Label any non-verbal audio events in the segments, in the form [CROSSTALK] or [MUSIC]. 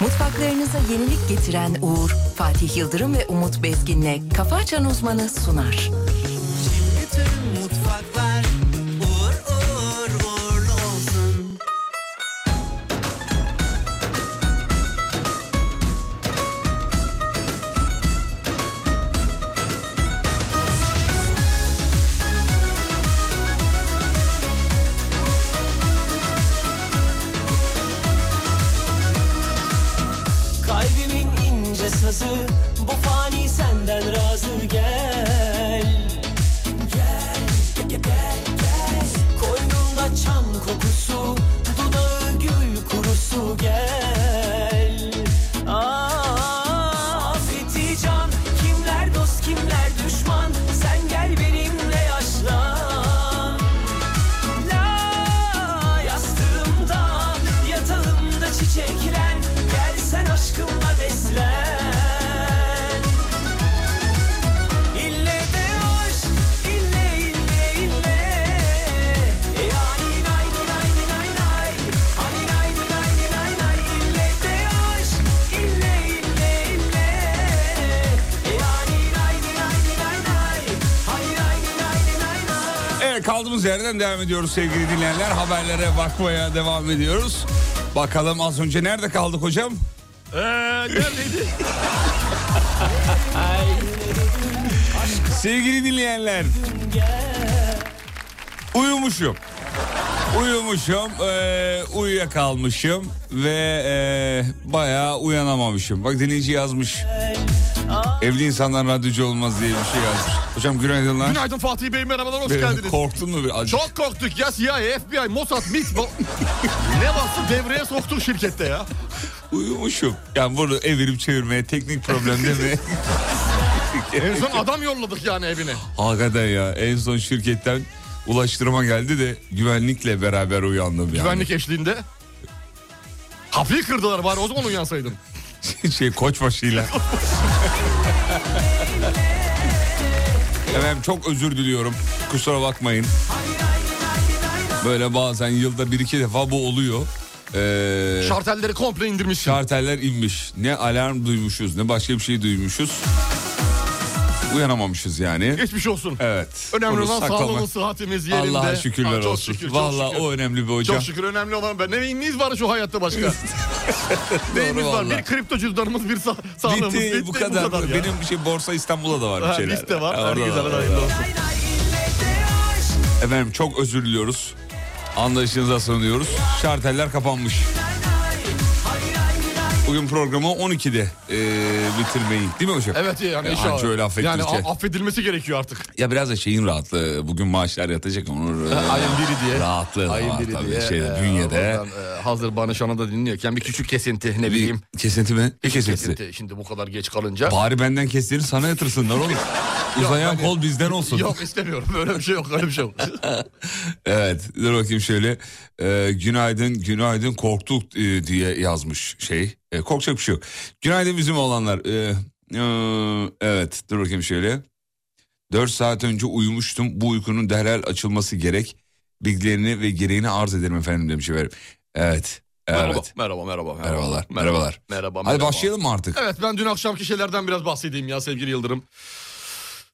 Mutfaklarınıza yenilik getiren Uğur, Fatih Yıldırım ve Umut Bezgin'le Kafa Açan Uzmanı sunar. Bütün mutfaklar uğur uğur uğurlu olsun. Kalbimin ince sazı bu fani senden razı gel. Koynumda çam kokusu, dudağı gül kurusu gel. Ah, Afeti can, kimler dost kimler düşman, sen gel benimle yaşlan. La yastığımda, yatağımda çiçeklen, gel sen aşkımla beslen. İlle de aşk, ille ille ille. E ay nay nay nay nay, ay nay nay nay nay. İlle de aşk, ille ille ille. E ay nay nay nay nay, ay nay nay nay nay. Evet kaldığımız yerden devam ediyoruz sevgili dinleyenler. Haberlere bakmaya devam ediyoruz. Bakalım az önce nerede kaldık hocam? Ee, neredeydi? Sevgili dinleyenler. Uyumuşum. Uyumuşum, eee uyuyakalmışım ve eee bayağı uyanamamışım. Bak dinleyici yazmış. Evli insanlar radyocu olmaz diye bir şey yazmış. Hocam günaydınlar. Günaydın Fatih Bey merhabalar hoş Benim- geldiniz. Korktun mu biraz? Çok korktuk ya CIA, FBI, Mossad, MIT. bo- [LAUGHS] ne varsa devreye soktuk şirkette ya. Uyumuşum. Yani bunu evirip çevirmeye teknik problem değil [LAUGHS] mi? En son adam yolladık yani evine. Hakikaten ya en son şirketten ulaştırma geldi de güvenlikle beraber uyandım yani. Güvenlik eşliğinde. Kapıyı kırdılar bari o zaman uyansaydın. [LAUGHS] şey [LAUGHS] koçbaşıyla. Efendim çok özür diliyorum. Kusura bakmayın. Böyle bazen yılda bir iki defa bu oluyor. Ee, Şartelleri komple indirmişsin. şarteller inmiş. Ne alarm duymuşuz ne başka bir şey duymuşuz. Uyanamamışız yani. Geçmiş olsun. Evet. Önemli Bunu olan saklamak- sağlığımız, sıhhatimiz yerinde. Allah'a şükürler Ha, çok olsun. Şükür, çok Vallahi şükür. o önemli bir hocam. Çok şükür önemli olan ben. Ne neyimiz var şu [LAUGHS] hayatta başka? neyimiz var? vallahi. Bir kripto cüzdanımız, bir sa- Bitti, sağlığımız. Bitti, bu kadar. ya. Benim bir şey Borsa İstanbul'da da var bir Ha, şeyler. liste var. Ha, orada Herkese da var. hayırlı olsun. Efendim çok özür diliyoruz. Anlayışınıza sığınıyoruz. Şarteller kapanmış. Bugün programı 12'de e, bitirmeyi değil mi hocam? Evet yani Ya, inşallah. anca öyle affedilecek. yani a- affedilmesi gerekiyor artık. Ya biraz da şeyin rahatlığı. Bugün maaşlar yatacak Onur. e, Ayın biri diye. Rahatlığı da var tabii. Şeyde, bünyede. oradan, e, hazır Banışan'ı da dinliyorken bir küçük kesinti ne bileyim. Bir kesinti mi? Bir kesinti. Kesinti. Şimdi bu kadar geç kalınca. Bari benden kestiğini sana yatırsınlar [LAUGHS] oğlum. Uzayan hani- kol bizden olsun. [LAUGHS] Yok istemiyorum öyle bir şey yok öyle bir şey yok. [LAUGHS] Evet dur bakayım şöyle Ee, günaydın günaydın korktuk e, diye yazmış şey E, korkacak bir şey yok. Günaydın bizim olanlar evet dur bakayım şöyle 4 saat önce uyumuştum bu uykunun derhal açılması gerek bilgilerini ve gereğini arz ederim efendim demiş efendim. Evet Merhaba, evet merhaba merhaba merhaba. merhabalar merhabalar. Merhaba Hadi merhaba. başlayalım mı artık? Evet ben dün akşamki şeylerden biraz bahsedeyim ya sevgili Yıldırım.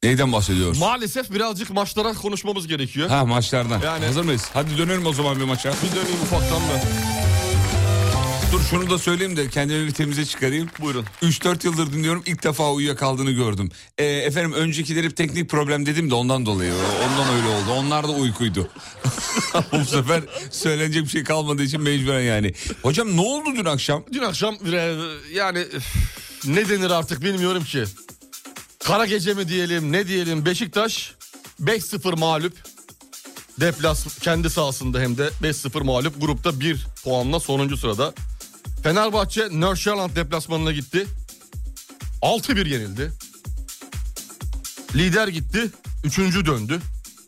Neyden bahsediyoruz? Maalesef birazcık maçlara konuşmamız gerekiyor. ha maçlardan. Yani- Hazır mıyız? Hadi dönelim o zaman bir maça. Bir döneyim ufaktan da. Dur şunu da söyleyeyim de kendimi bir temize çıkarayım. Buyurun. 3-4 yıldır dinliyorum ilk defa uyuyakaldığını gördüm. Ee, efendim öncekileri hep teknik problem dedim de ondan dolayı ondan öyle oldu. Onlar da uykuydu. [LAUGHS] Bu sefer söylenecek bir şey kalmadığı için mecburen yani. Hocam ne oldu dün akşam? Dün akşam e, yani üf, ne denir artık bilmiyorum ki. Kara gece mi diyelim ne diyelim Beşiktaş 5-0 mağlup. Deplas kendi sahasında hem de 5-0 mağlup grupta 1 puanla sonuncu sırada. Fenerbahçe Nörşaland deplasmanına gitti. 6-1 yenildi. Lider gitti. Üçüncü döndü.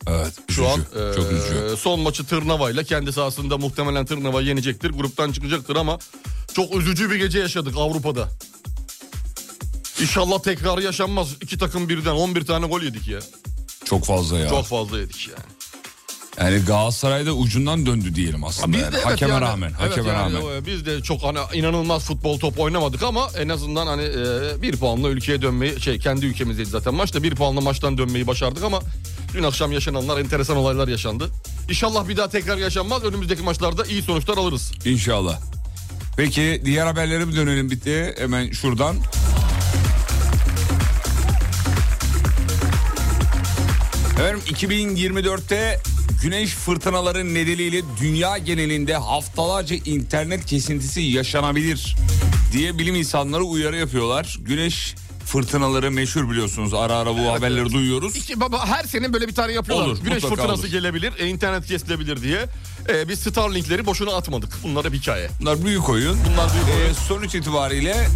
Evet. Şu an üzücü, çok e, üzücü. son maçı Tırnava'yla kendi sahasında muhtemelen Tırnava yenecektir. Gruptan çıkacaktır ama çok üzücü bir gece yaşadık Avrupa'da. İnşallah tekrarı yaşanmaz. İki takım birden 11 tane gol yedik ya. Çok fazla ya. Çok fazla yedik yani. Yani Galatasaray'da ucundan döndü diyelim aslında. yani. evet hakeme yani- rağmen, evet hakeme yani rağmen. o- Biz de çok hani inanılmaz futbol top oynamadık ama en azından hani e, bir puanla ülkeye dönmeyi şey kendi ülkemizdeydi zaten maçta bir puanla maçtan dönmeyi başardık ama dün akşam yaşananlar enteresan olaylar yaşandı. İnşallah bir daha tekrar yaşanmaz. Önümüzdeki maçlarda iyi sonuçlar alırız. İnşallah. Peki diğer haberlere mi dönelim bitti hemen şuradan. Efendim 2024'te güneş fırtınaları nedeniyle dünya genelinde haftalarca internet kesintisi yaşanabilir diye bilim insanları uyarı yapıyorlar. Güneş fırtınaları meşhur biliyorsunuz ara ara bu haberleri duyuyoruz. İki, baba her sene böyle bir tane yapıyorlar. Olur, Güneş mutlaka fırtınası olur. gelebilir, e, internet kesilebilir diye. E, biz Starlink'leri boşuna atmadık. Bunlar hep hikaye. Bunlar büyük oyun. Bunlar büyük Ee, sonuç itibariyle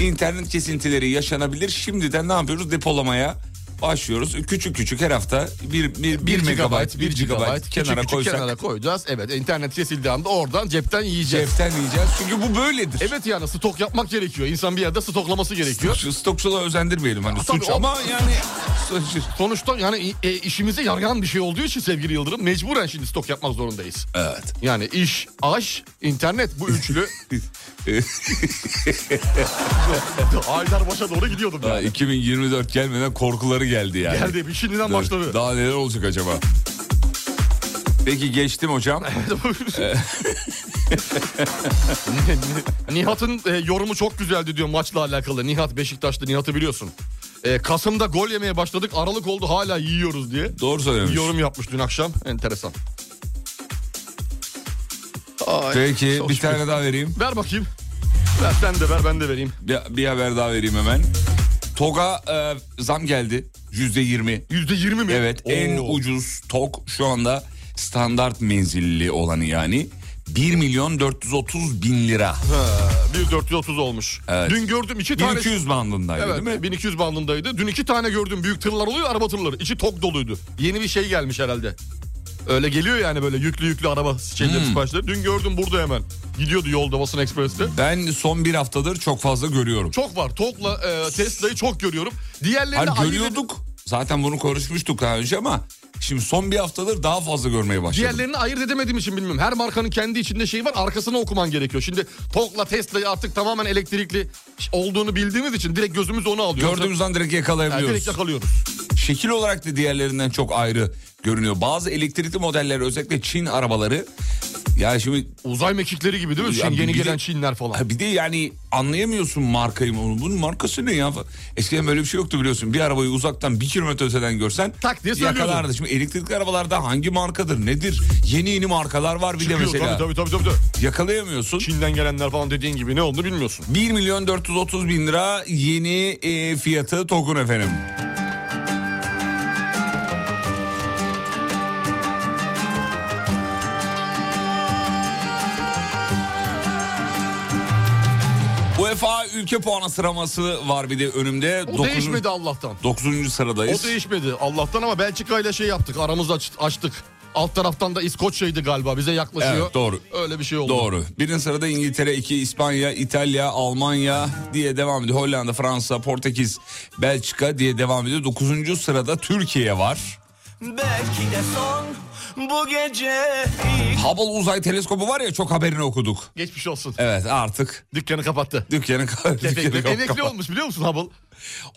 internet kesintileri yaşanabilir. Şimdiden ne yapıyoruz? Depolamaya başlıyoruz. Küçük küçük her hafta 1 bir, bir megabayt, 1 gigabayt küçük kenara küçük koysak kenara koyacağız. Evet internet kesildiği anda oradan cepten yiyeceğiz. ceften yiyeceğiz. Çünkü bu böyledir. Evet yani stok yapmak gerekiyor. İnsan bir yerde stoklaması gerekiyor. Şu stokçuluğa özendirmeyelim hani tabii suç o- ama [LAUGHS] yani suç. Sonuçta yani e, işimize yarayan bir şey olduğu için sevgili Yıldırım mecburen şimdi stok yapmak zorundayız. Evet. Yani iş, aş, internet bu üçlü. Aydarbaş'a doğru gidiyordum Daha yani. 2024 gelmeden korkuları geldi yani. Geldi bir şimdiden Evet. başladı. Daha neler olacak acaba? Peki geçtim hocam. [LAUGHS] Nihat'ın e, yorumu çok güzeldi diyor maçla alakalı. Nihat Beşiktaşlı Nihat'ı biliyorsun. E, Kasım'da gol yemeye başladık. Aralık oldu hala yiyoruz diye. Doğru söylemiş. Yorum yapmış dün akşam. Enteresan. Ay, Peki çok bir şükür. tane daha vereyim. Ver bakayım. Ver sen de ver ben de vereyim. Bir, bir haber daha vereyim hemen. TOG'a e, zam geldi. Yüzde yirmi. Yüzde yirmi mi? Evet en Oo. ucuz TOG şu anda standart menzilli olanı yani. 1 milyon 430 bin lira. He, 1430 olmuş. Evet. Dün gördüm iki tane. 1200 bandındaydı Evet değil mi? 1200 bandındaydı. Dün iki tane gördüm. Büyük tırlar oluyor araba tırları. İçi tok doluydu. Yeni bir şey gelmiş herhalde. Öyle geliyor yani böyle yüklü yüklü araba şeyleri Hmm. siparişleri. Dün gördüm burada hemen. Gidiyordu yolda Basın Ekspres'te. Ben son bir haftadır çok fazla görüyorum. Çok var. Tokla e, Tesla'yı çok görüyorum. Hani Diğerlerini ayırt- görüyorduk. Zaten bunu konuşmuştuk daha önce ama şimdi son bir haftadır daha fazla görmeye başladım. Diğerlerini ayırt edemediğim için bilmiyorum. Her markanın kendi içinde şeyi var arkasını okuman gerekiyor. Şimdi Tok'la Tesla'yı artık tamamen elektrikli olduğunu bildiğimiz için direkt gözümüz onu alıyor. Gördüğümüz an direkt Yani yakalayabiliyoruz. direkt yakalıyoruz. şekil olarak da diğerlerinden çok ayrı görünüyor. Bazı elektrikli modeller özellikle Çin arabaları yani şimdi Uzay mekikleri gibi değil mi? Ya Çin, yeni bir de- gelen Çinler falan. ha bir de yani anlayamıyorsun markayı mı? Bunun markası ne ya? Eskiden böyle bir şey yoktu biliyorsun. Bir arabayı uzaktan bir kilometre öteden görsen Tak diye söylüyordun. yakalardı. Şimdi elektrikli arabalarda hangi markadır nedir? Yeni yeni markalar var bir Çıkıyor, de mesela. Tabii, tabii, tabii, tabii. Yakalayamıyorsun. Çin'den gelenler falan dediğin gibi ne oldu bilmiyorsun. 1 milyon 430 bin lira yeni e, fiyatı Tokun efendim. UEFA ülke puanı sıraması var bir de önümde. O Dokuzun- değişmedi Allah'tan. Dokuzuncu O sıradayız. değişmedi Allah'tan ama Belçika ile şey yaptık. Aramızı aç- açtık. Alt taraftan da İskoçya'ydı galiba bize yaklaşıyor. Evet, doğru. Öyle bir şey oldu. Doğru. Birinci sırada İngiltere, iki İspanya, İtalya, Almanya diye devam ediyor. Hollanda, Fransa, Portekiz, Belçika diye devam ediyor. Dokuzuncu sırada Türkiye var. Belki de son bu gece Hubble uzay teleskobu var ya çok haberini okuduk. Geçmiş olsun. Evet artık Dükkanı kapattı. dükkanı, dükkanı Efekli, kap- Emekli kapat. olmuş biliyor musun Hubble?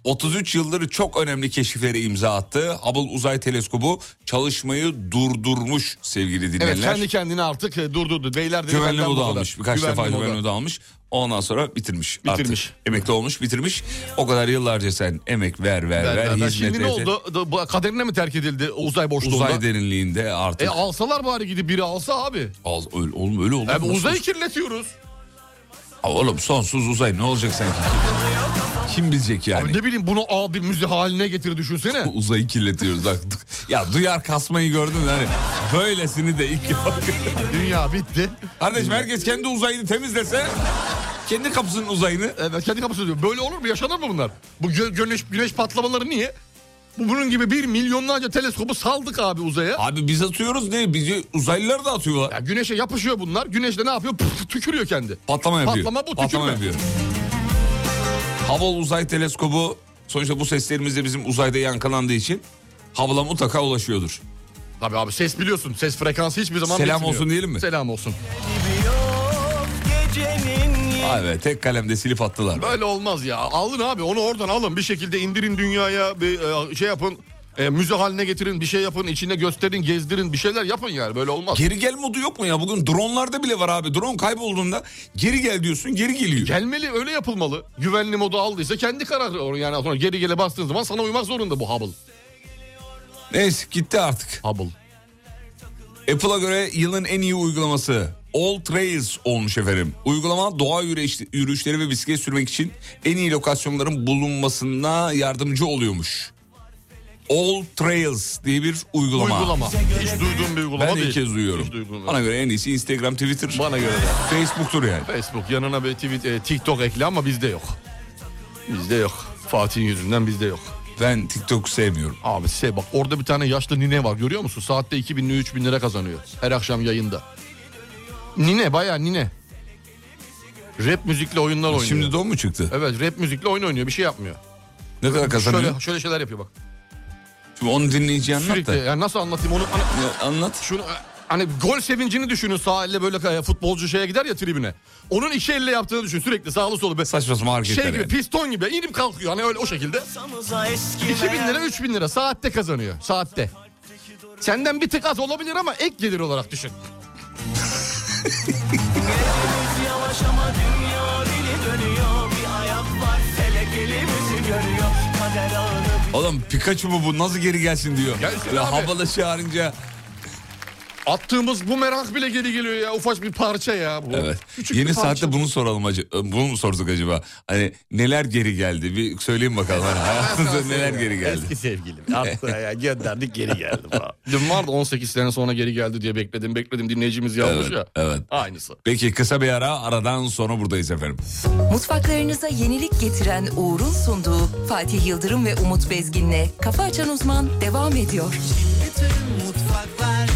33 yıldır çok önemli keşiflere imza attı. Hubble uzay teleskobu çalışmayı durdurmuş sevgili Evet dinleyenler. kendi kendini artık e, durdurdu. Beyler dedi Güvenli benden bu oda kadar. almış. Birkaç Güvenli defa moda. güvenli oda almış. Ondan sonra bitirmiş. Bitirmiş. Artık emekli olmuş bitirmiş. O kadar yıllarca sen emek ver ver ver, Ben- ben- ben- hizmet Şimdi ne et, et. oldu? Da- bu- Kaderine mi terk edildi uzay boşluğunda? Uzay derinliğinde artık. E alsalar bari gidip biri alsa abi. Al, öyle, oğlum öyle oldu. Abi Nasıl- uzayı kirletiyoruz. Aa, Oğlum sonsuz uzay ne olacak [LAUGHS] sanki? Kim bilecek yani? Abi ne bileyim bunu abi müze haline getir düşünsene. uzayı kirletiyoruz. Bak, du- ya duyar kasmayı gördün mü? hani böylesini de ilk yok. Dünya bitti. Kardeşim herkes kendi uzayını temizlese kendi kapısının uzayını. Evet kendi kapısı diyor. Böyle olur mu? Yaşanır mı bunlar? Bu gö- güneş, güneş patlamaları niye? Bu bunun gibi bir milyonlarca teleskobu saldık abi uzaya. Abi biz atıyoruz ne? Bizi uzaylılar da atıyorlar. Ya güneşe yapışıyor bunlar. Güneş de ne yapıyor? Pıf, tükürüyor kendi. Patlama yapıyor. Patlama bu, tükürme. Patlama yapıyor. Hubble uzay teleskobu sonuçta bu seslerimiz de bizim uzayda yankılandığı için Hubble'a mutlaka ulaşıyordur. Tabii abi ses biliyorsun. Ses frekansı hiçbir zaman Selam bitmiyor. olsun diyelim mi? Selam olsun. Yok gecenin Vay be tek kalemde silip attılar. Böyle olmaz ya. Alın abi onu oradan alın. Bir şekilde indirin dünyaya bir e, şey yapın. E, müze haline getirin bir şey yapın. içine gösterin gezdirin bir şeyler yapın yani. Böyle olmaz. Geri gel modu yok mu ya? Bugün dronlarda bile var abi. Drone kaybolduğunda geri gel diyorsun geri geliyor. Gelmeli öyle yapılmalı. Güvenli modu aldıysa kendi kararı or- yani sonra geri gele bastığın zaman sana uymak zorunda bu Hubble. Neyse gitti artık. Hubble. Apple'a göre yılın en iyi uygulaması All Trails olmuş efendim. Uygulama doğa yürüyüş- yürüyüşleri ve bisiklet sürmek için en iyi lokasyonların bulunmasına yardımcı oluyormuş. All Trails diye bir uygulama. Uygulama. Hiç duyduğum bir uygulama Ben değil. ilk kez duyuyorum. Hiç duyduğum- Bana göre en iyisi Instagram, Twitter, Bana göre de. Facebook'tur yani. Facebook yanına bir tweet, e, TikTok ekle ama bizde yok. Bizde yok. Fatih'in yüzünden bizde yok. Ben TikTok'u sevmiyorum. Abi şey bak orada bir tane yaşlı nine var görüyor musun? Saatte 2000 ile 3000 lira kazanıyor. Her akşam yayında. Nine baya nine. Rap müzikle oyunlar oynuyor. E Şimdi de o mu çıktı? Evet rap müzikle oyun oynuyor bir şey yapmıyor. Ne kadar kazanıyor? Şöyle, şöyle şeyler yapıyor bak. Şimdi onu dinleyeceğim anlat Sürekli da. yani nasıl anlatayım onu ana- Ya Anlat. şunu hani gol sevincini düşünün sağ elle böyle e, futbolcu şeye gider ya tribüne. Onun iki elle yaptığını düşün sürekli sağlı solu be. Saçma sapan hareketler. Şey gibi yani. piston gibi inip kalkıyor hani öyle o şekilde. masamıza 2000 eskimeyen lira 3000 lira saatte kazanıyor saatte. Senden bir tık az olabilir ama ek gelir olarak düşün. Biz yavaş ama dünya dili dönüyor Bir ayak var felek elimizi görüyor Kader ağını Oğlum Pikachu mu bu nasıl geri gelsin diyor. Gelsin Böyle abi. havalı çağırınca. Attığımız bu merak bile geri geliyor ya ufak bir parça ya. Bu. Evet. Küçük Yeni bir parça. saatte bunu soralım acı. e, Bunu mu sorduk acaba? Hani neler geri geldi? Bir söyleyin bakalım. Hani hayatınızda [LAUGHS] neler geri geldi? Eski sevgilim. Aksa'ya gönderdik geri geldi falan. [LAUGHS] Dün vardı 18 sene sonra geri geldi diye bekledim bekledim dinleyicimiz yazmış Evet, ya. evet. Aynısı. Peki kısa bir ara aradan sonra buradayız efendim. Mutfaklarınıza yenilik getiren Uğur'un sunduğu Fatih Yıldırım ve Umut Bezgin'le Kafa Açan Uzman devam ediyor. mutfaklar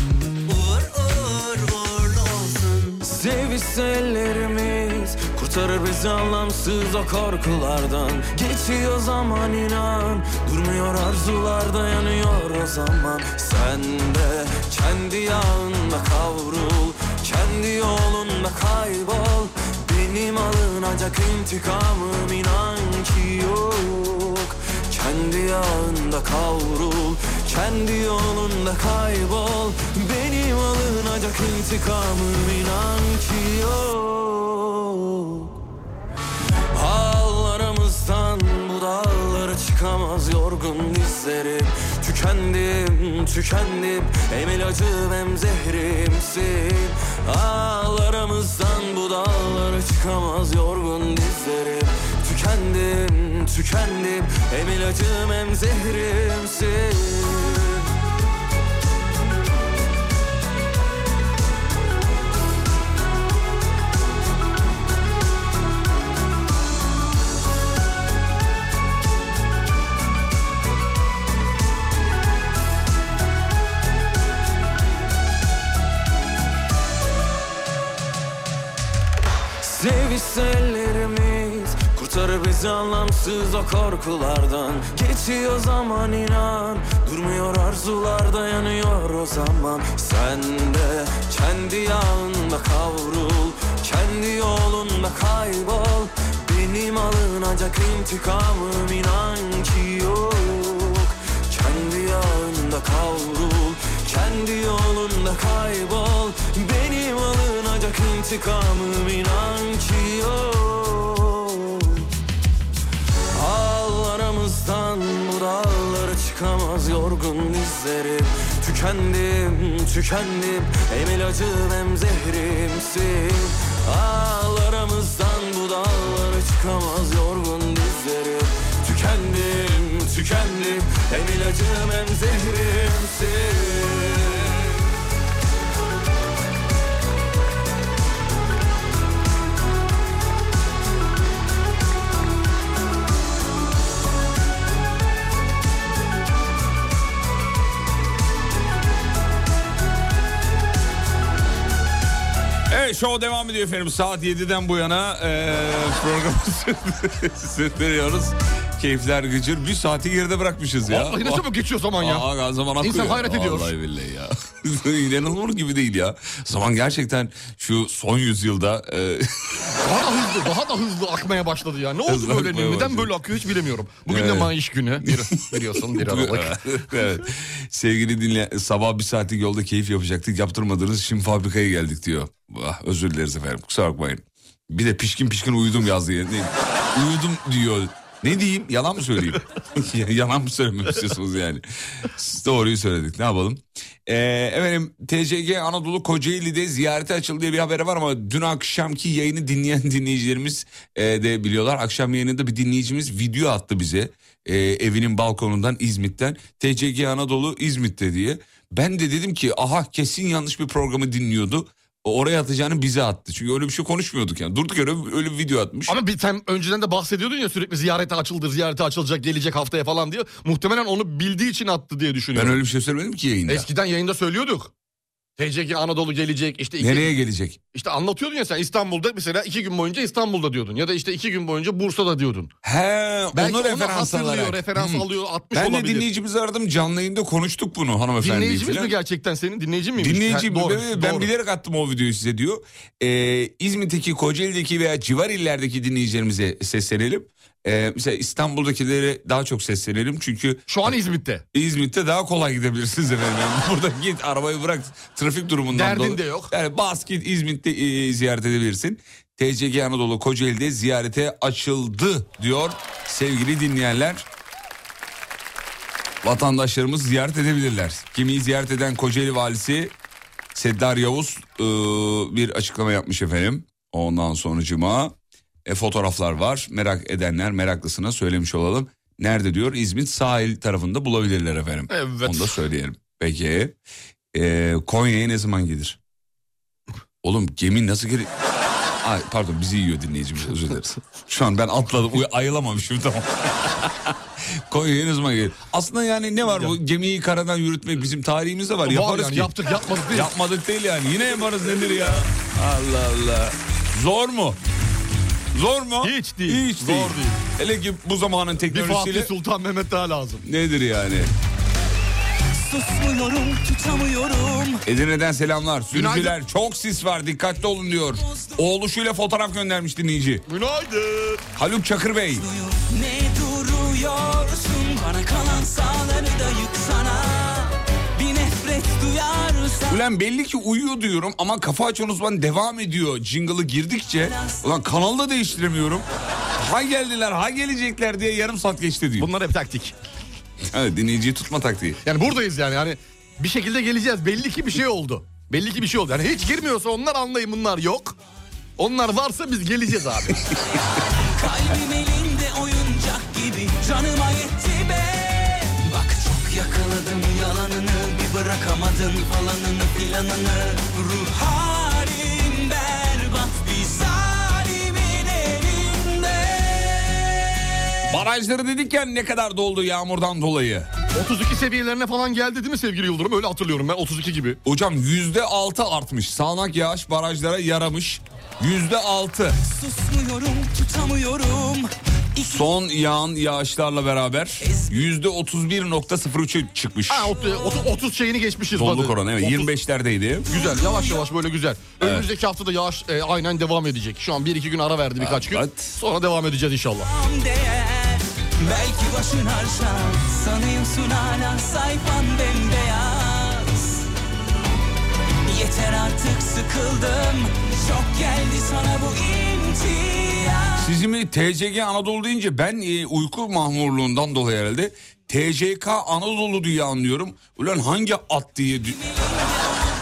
uğur uğur uğurlu olsun. Sevişse ellerimiz kurtarır bizi anlamsız o korkulardan. Geçiyor zaman inan durmuyor arzular dayanıyor o zaman. Sen de kendi yağında kavrul, kendi yolunda kaybol. Benim alınacak intikamım inan ki yok. Kendi yağında kavrul Kendi yolunda kaybol Benim alınacak intikamım inan ki yok Ağlarımızdan bu dağlara çıkamaz yorgun dizlerim Tükendim, tükendim Hem ilacım hem zehrimsin Ağlarımızdan bu dağlara çıkamaz yorgun dizlerim Tükendim, tükendim Hem ilacım hem zehrimsin Sevişse ellerimiz Kurtarır bizi anlamsız o korkulardan Geçiyor zaman inan Durmuyor arzular dayanıyor o zaman Sen de kendi yağında kavrul Kendi yolunda kaybol Benim alınacak intikamım inan ki yok kendi yağında kavrul Kendi yolunda kaybol Benim alınacak intikamım inan ki yok Ağlarımızdan bu dağlara çıkamaz yorgun dizlerim Tükendim, tükendim Hem ilacım hem zehrimsin Ağlarımızdan bu dağlara çıkamaz yorgun dizlerim Tükendim, tükendim Hem ilacım hem zehrimsin Evet show devam e, [LAUGHS] ediyor efendim. Saat 7'den bu yana eee programı sürdürüyoruz. Keyifler gıcır. Bir saati geride bırakmışız ya. Vallahi ne çabuk geçiyor zaman ya. Aa, zaman akıyor. İnsan hayret ediyor. Vallahi billahi ya. [LAUGHS] İnanılır gibi değil ya. Zaman gerçekten şu son yüzyılda e, [LAUGHS] Daha da hızlı, daha da hızlı akmaya başladı ya. Ne oldu Hızlı böyle? akmaya Neden başladı. böyle akıyor hiç bilemiyorum. Bugün de Evet. maaş günü. [LAUGHS] Bir- biliyorsun bir Aralık. evet. Sevgili dinle sabah bir saatlik yolda keyif yapacaktık yaptırmadınız şimdi fabrikaya geldik diyor. Ah, özür dileriz efendim kusura bakmayın. Bir de pişkin pişkin uyudum yazdı ya. Ne- Uyudum diyor. Ne diyeyim yalan mı söyleyeyim? [LAUGHS] yalan mı söylemek istiyorsunuz yani? Siz Doğruyu söyledik ne yapalım? Ee, efendim TCG Anadolu Kocaeli'de ziyarete açıldı diye bir haberi var ama dün akşamki yayını dinleyen [LAUGHS] dinleyicilerimiz e, de biliyorlar. Akşam yayınında bir dinleyicimiz video attı bize e, evinin balkonundan İzmit'ten TCG Anadolu İzmit'te diye. Ben de dedim ki aha kesin yanlış bir programı dinliyordu. O Oraya atacağını bize attı. Çünkü öyle bir şey konuşmuyorduk yani. Durduk yere öyle bir video atmış. Ama bir sen önceden de bahsediyordun ya sürekli ziyarete açıldı, ziyarete açılacak, gelecek haftaya falan diye. Muhtemelen onu bildiği için attı diye ben düşünüyorum. öyle bir şey söylemedim ki yayında. Eskiden yayında söylüyorduk. TCG Anadolu gelecek işte iki- Nereye gelecek? işte anlatıyordun ya sen İstanbul'da mesela iki gün boyunca İstanbul'da diyordun ya da işte iki gün boyunca Bursa'da diyordun. He, Belki onu referans hatırlıyor, alarak. referans Hmm. alıyor, atmış Ben de olabilir. dinleyicimizi aradım canlı yayında konuştuk bunu hanımefendi. Dinleyicimiz mi gerçekten senin? Dinleyici miymiş? Dinleyici Ha, bu- doğru, ben, ben doğru. bilerek attım o videoyu size diyor. Ee, İzmit'teki, Kocaeli'deki veya civar illerdeki dinleyicilerimize seslenelim. Ee, mesela İstanbul'dakilere daha çok seslenelim. Çünkü Şu an İzmit'te. İzmit'te daha kolay gidebilirsiniz efendim. Yani [LAUGHS] burada git arabayı bırak trafik durumundan Derdin dolayı. de yok. Yani bas git İzmit'te e, ziyaret edebilirsin. TCG Anadolu Kocaeli'de ziyarete açıldı diyor sevgili dinleyenler. Vatandaşlarımız ziyaret edebilirler. Kimiyi ziyaret eden Kocaeli valisi Seddar Yavuz e, bir açıklama yapmış efendim. Ondan sonucuma e, fotoğraflar var. Merak edenler meraklısına söylemiş olalım. Nerede diyor? İzmit sahil tarafında bulabilirler efendim. Evet. Onu da söyleyelim. Peki. E, Konya'ya ne zaman gelir? Oğlum gemi nasıl gelir? Ay, pardon bizi yiyor dinleyicimiz özür dileriz. Şu an ben atladım uy- ayılamamışım tamam. Konya'ya ne zaman gelir? Aslında yani ne var bu gemiyi karadan yürütmek bizim tarihimizde var. Var Yaparız yani ki. yaptık yapmadık değil. Yapmadık değil yani. Yine yaparız nedir ya? Allah Allah. Zor mu? Zor mu? Hiç değil. Hiç Zor değil. değil. Hele ki bu zamanın Bir teknolojisiyle Fatih Sultan Mehmet daha lazım. nedir yani? Susmuyorum, tutamıyorum. Edirne'den selamlar. Günaydın. Sürücüler çok sis var dikkatli olun diyor. Oğluşuyla fotoğraf göndermiş dinleyici. Günaydın. Haluk Çakır Bey. Ne duruyorsun bana kalan sağları da yıksana Bir nefret duyarsan Ulan belli ki uyuyor diyorum ama kafa açan uzman devam ediyor. Jingle'ı girdikçe ulan kanalı da değiştiremiyorum. Ha geldiler ha gelecekler diye yarım saat geçti diyor. Bunlar hep taktik. Evet, dinleyiciyi tutma taktiği. Yani buradayız yani. Yani bir şekilde geleceğiz. Belli ki bir şey oldu. Belli ki bir şey oldu. Yani hiç girmiyorsa onlar anlayın bunlar yok. Onlar varsa biz geleceğiz abi. [LAUGHS] Kalbim elinde oyuncak gibi canıma yetti be Bak çok yakaladım yalanını bir bırakamadın falanını filanını Ruh halim berbat bir zalimin elinde Barajları dedik ya ne kadar doldu yağmurdan dolayı. 32 seviyelerine falan geldi değil mi sevgili Yıldırım? Öyle hatırlıyorum ben 32 gibi. Hocam yüzde altı artmış. Sağanak yağış barajlara yaramış. Yüzde altı. Susmuyorum, tutamıyorum. İki Son yağan yağışlarla beraber yüzde otuz bir nokta sıfır üçe çıkmış. Ha, ot- ot- 30 şeyini geçmişiz. Donluk hadi. oranı evet 30 25'lerdeydi. Güzel yavaş yavaş böyle güzel. Önümüzdeki hafta da yağış e, aynen devam edecek. Şu an 1-2 gün ara verdi birkaç gün. Evet. Sonra devam edeceğiz inşallah. tam değer Belki başın arşa sanıyorsun hala sayfan bembeyaz Yeter artık sıkıldım çok geldi sana bu imtiyaz Sizimi TCG Anadolu deyince ben e, uyku mahmurluğundan dolayı herhalde TCK Anadolu diye anlıyorum. Ulan hangi at diye dü-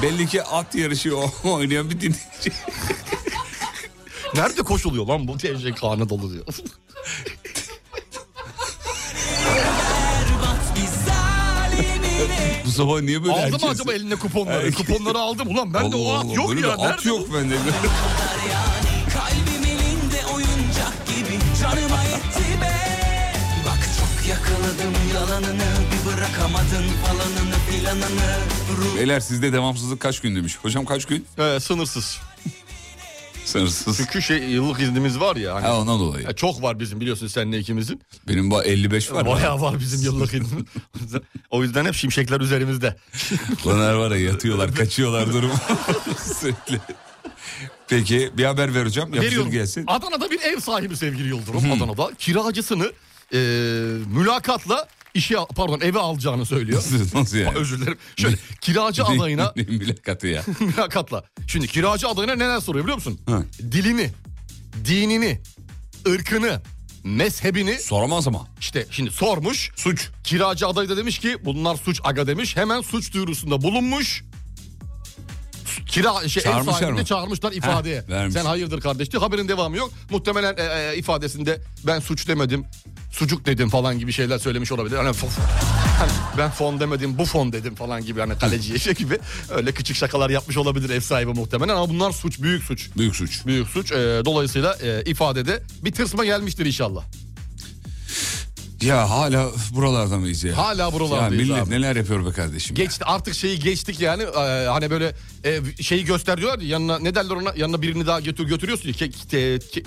belli ki at yarışı o- oynayan bir dinleyici. Nerede koşuluyor lan bu TCK [LAUGHS] Anadolu diyor. Berbat bir zalimine Bu sabah niye böyle Aldı erken- mı acaba eline kuponları? Herkes- Kuponları aldım. Ulan ben de o Allah at Allah, yok böyle ya. bir at Nerede yok [LAUGHS] bende. Kalbim elinde oyuncak gibi canıma yetti be Bak çok yakaladım yalanını bir bırakamadın falanını filanını Ruh Beyler sizde devamsızlık kaç gün demiş. Hocam kaç gün? He, sınırsız. Sınırsız. Çünkü şey yıllık iznimiz var ya. Hani, Ha ondan dolayı. Ya çok var bizim biliyorsun seninle ikimizin. Benim ba- 55 var. Bayağı var bizim yıllık [LAUGHS] iznimiz. o yüzden hep şimşekler üzerimizde. Bunlar var ya [LAUGHS] yatıyorlar, kaçıyorlar durum. Sürekli. Peki bir haber vereceğim. Yapışır Veriyorum. gelsin. Hmm. Adana'da bir ev sahibi sevgili Yıldırım. Adana'da kiracısını e, mülakatla işe pardon eve alacağını söylüyor. Nasıl, nasıl yani? Özür dilerim. [LAUGHS] Şöyle kiracı adayına Ne mülakatı ya. mülakatla. Şimdi kiracı adayına neler soruyor biliyor musun? Ha. Dilini, dinini, ırkını, mezhebini Soramaz ama. işte şimdi sormuş. Suç. Kiracı adayı da demiş ki bunlar suç aga demiş. Hemen suç duyurusunda bulunmuş. Kira şey, ev Çağırmışlar sahibini de mı? çağırmışlar ifadeye. vermiş. Sen hayırdır kardeş diye. Haberin devamı yok. Muhtemelen e, e, ifadesinde ben suç demedim. Sucuk dedim falan gibi şeyler söylemiş olabilir. Hani, fo- hani ben fon demedim bu fon dedim falan gibi hani kaleciye şey gibi. Öyle küçük şakalar yapmış olabilir ev sahibi muhtemelen ama bunlar suç büyük suç. Büyük suç. Büyük suç. E, dolayısıyla e, ifadede bir tırsma gelmiştir inşallah. Ya hala buralarda mıyız ya? Hala buralardayız Ya millet abi. neler yapıyor be kardeşim ya. Geçti artık şeyi geçtik yani Ee, hani böyle e, şeyi gösteriyorlar ya yanına ne derler ona yanına birini daha götür götürüyorsun ya ke, ke- ke-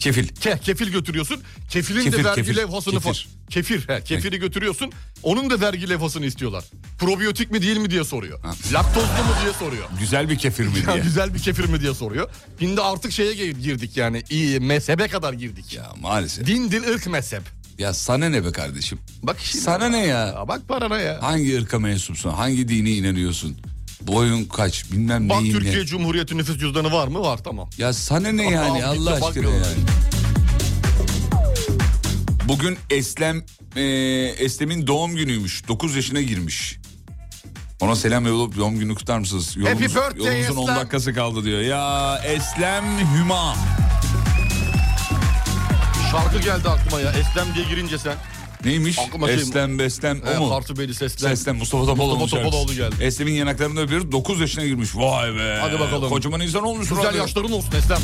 Kefil. ke- kefil götürüyorsun kefilin Kefir, de vergi kefir, levhasını kefir. kefir, kefir he, kefiri götürüyorsun onun da vergi levhasını istiyorlar probiyotik mi değil mi diye soruyor Ha. laktozlu mu diye [LAUGHS] soruyor Güzel bir kefir mi Ya diye. güzel bir kefir mi diye soruyor şimdi artık şeye gir- girdik yani iyi mezhebe kadar girdik Ya maalesef. din dil ırk mezhep Ya sana ne be kardeşim? bak şimdi Sana ne ya? Ya bak parana ya Hangi ırka mensupsun? Hangi dine inanıyorsun? Boyun kaç? Bilmem Bak neyin ne. Türkiye Cumhuriyeti nüfus cüzdanı var mı? Var tamam. Ya sana ne yani Allah Al, bitti, aşkına bakmıyorlar. yani. Bugün Eslem e, Eslem'in doğum günüymüş. 9 yaşına girmiş. Ona selam yollayıp doğum gününü kutlar mısınız? Yolumuz, birthday yolumuzun 10 Eslem. dakikası kaldı diyor. Ya Eslem Hüma. Şarkı geldi aklıma ya. Eslem diye girince sen. Neymiş? Aklıma şey- Eslem Beslem E, o mu? Kartı Beli sesler. Eslem Mustafa Topaloğlu. Mustafa Topaloğlu geldi. Eslem'in yanaklarını öpüyoruz. 9 yaşına girmiş. Vay be. Hadi bakalım. Kocaman insan olmuşsun. Güzel abi. yaşların olsun Eslem.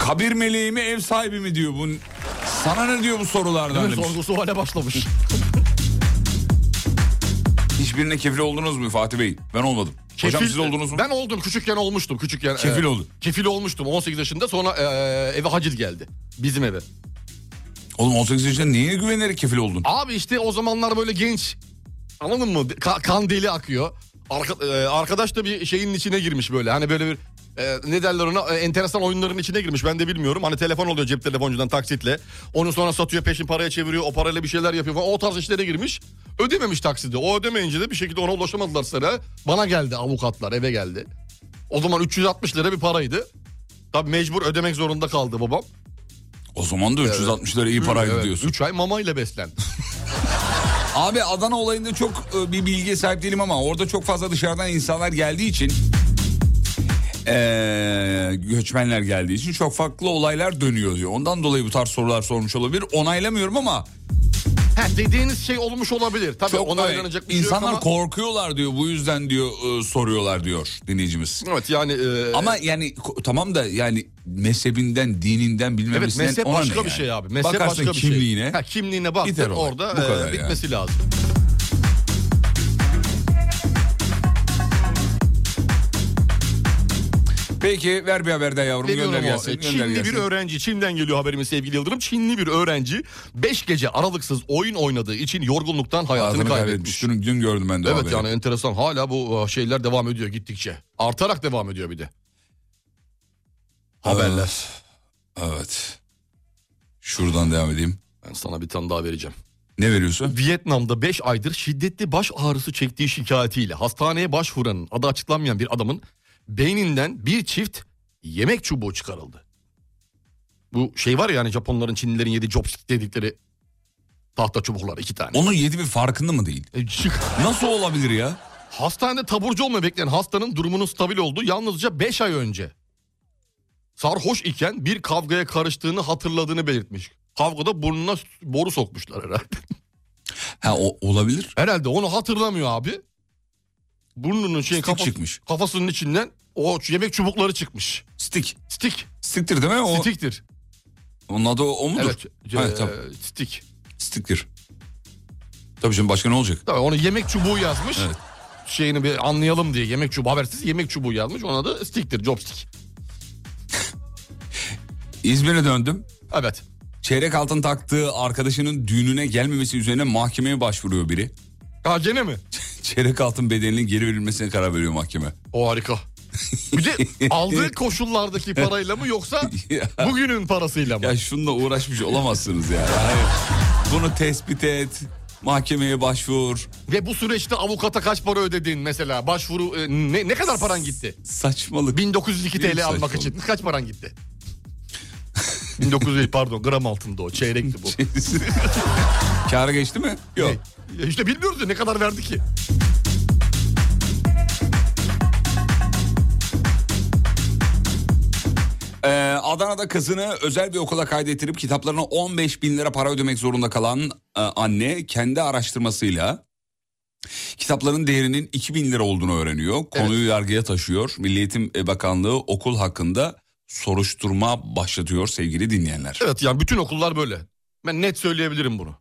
Kabir meleği mi ev sahibi mi diyor. Bu... Sana ne diyor bu sorulardan? demiş. Sorgusu hale başlamış. Hiçbirine kefil oldunuz mu Fatih Bey? Ben olmadım. Hocam Kefil- siz oldunuz mu? Ben oldum. Küçükken olmuştum. Küçükken. Kefil oldun. Kefil olmuştum 18 yaşında. Sonra e, eve haciz geldi. Bizim eve. Oğlum 18 yaşında niye güvenerek kefil oldun? Abi işte o zamanlar böyle genç. Anladın mı? Ka- kan deli akıyor. Arka- e, arkadaş da bir şeyin içine girmiş böyle. Hani böyle bir e, ne derler ona E, enteresan oyunların içine girmiş ben de bilmiyorum. Hani telefon oluyor cep telefoncudan taksitle. Onu sonra satıyor peşin paraya çeviriyor o parayla bir şeyler yapıyor falan. O tarz işlere girmiş. Ödememiş taksidi. O ödemeyince de bir şekilde ona ulaşamadılar sıra. Bana geldi avukatlar eve geldi. O zaman 360 lira bir paraydı. Tabii mecbur ödemek zorunda kaldı babam. O zaman da 360 lira iyi paraydı diyorsun. 3 ay mamayla beslendi. Abi Adana olayında çok e, bir bilgiye sahip değilim ama orada çok fazla dışarıdan insanlar geldiği için e, göçmenler geldiği için çok farklı olaylar dönüyor diyor. Ondan dolayı bu tarz sorular sormuş olabilir. Onaylamıyorum ama Ha, dediğiniz şey olmuş olabilir. Tabii çok onaylanacak bir şey yok insanlar ama- korkuyorlar diyor. Bu yüzden diyor e, soruyorlar diyor dinleyicimiz. Evet yani... e, Ama yani ko- tamam da yani mezhebinden, dininden bilmem Evet nesinden mezhep ona başka ne bir yani? şey abi. Mezhep Bakarsın başka bir şey. kimliğine. Ha, kimliğine bak Biter olay. orada Bu e, kadar yani. bitmesi lazım. Peki ver bir haber daha yavrum Veriyorum gönder o. gelsin. E, gönder Çinli gelsin. bir öğrenci. Çin'den geliyor haberimiz sevgili Yıldırım. Çinli bir öğrenci 5 gece aralıksız oyun oynadığı için yorgunluktan hayatını Ağzını kaybetmiş. kaybetmiş. Dün, dün gördüm ben de o Evet haberi. yani enteresan. Hala bu e, şeyler devam ediyor gittikçe. Artarak devam ediyor bir de. Aa, Haberler. Ah, Evet. Şuradan devam edeyim. Ben sana bir tane daha vereceğim. Ne veriyorsun? Vietnam'da 5 aydır şiddetli baş ağrısı çektiği şikayetiyle hastaneye başvuran adı açıklanmayan bir adamın beyninden bir çift yemek çubuğu çıkarıldı. Bu şey var ya hani Japonların Çinlilerin yediği chopstick dedikleri tahta çubuklar iki tane. Onu yedi bir farkında mı değil? E, şık. Nasıl olabilir ya? Hastanede taburcu olmayı bekleyen hastanın durumunun stabil olduğu yalnızca 5 ay önce. Sarhoş iken bir kavgaya karıştığını hatırladığını belirtmiş. Kavgada burnuna boru sokmuşlar herhalde. Ha o, olabilir. Herhalde onu hatırlamıyor abi. Burnunun şey Stik çıkmış. kafasının içinden o yemek çubukları çıkmış. Stik. Stik. Stiktir değil mi? O, Stiktir. Onun adı o, o mudur? Evet. Ha, e, tamam. Stik. Stiktir. Tabii canım başka ne olacak? Tabii onu yemek çubuğu yazmış. Evet. şeyini bir anlayalım diye yemek çubuğu habersiz yemek çubuğu yazmış. Ona da sticktir, chopstick. İzmir'e döndüm. Evet. Çeyrek altın taktığı arkadaşının düğününe gelmemesi üzerine mahkemeye başvuruyor biri. [LAUGHS] Ha gene mi? Çeyrek altın bedelinin geri verilmesine karar veriyor mahkeme. O harika. [LAUGHS] Bir de aldığı koşullardaki parayla mı yoksa Ya. bugünün parasıyla mı? Ya şununla uğraşmış olamazsınız ya. Hayır. Bunu tespit et, mahkemeye başvur. Ve bu süreçte avukata kaç para ödedin mesela? Başvuru e, ne, ne kadar paran gitti? Saçmalık. 1902 Büyük TL almak saçmalık. için kaç paran gitti? 1900 pardon gram altında o çeyrekti bu. [LAUGHS] Kâra geçti mi? Yok. Ne? Ya İşte bilmiyoruz ya ne kadar verdi ki. Ee, Adana'da kızını özel bir okula kaydettirip kitaplarına 15 bin lira para ödemek zorunda kalan e, anne kendi araştırmasıyla kitapların değerinin 2 bin lira olduğunu öğreniyor. Konuyu yargıya taşıyor. Milli Eğitim Bakanlığı okul hakkında soruşturma başlatıyor sevgili dinleyenler. Evet yani bütün okullar böyle. Ben net söyleyebilirim bunu.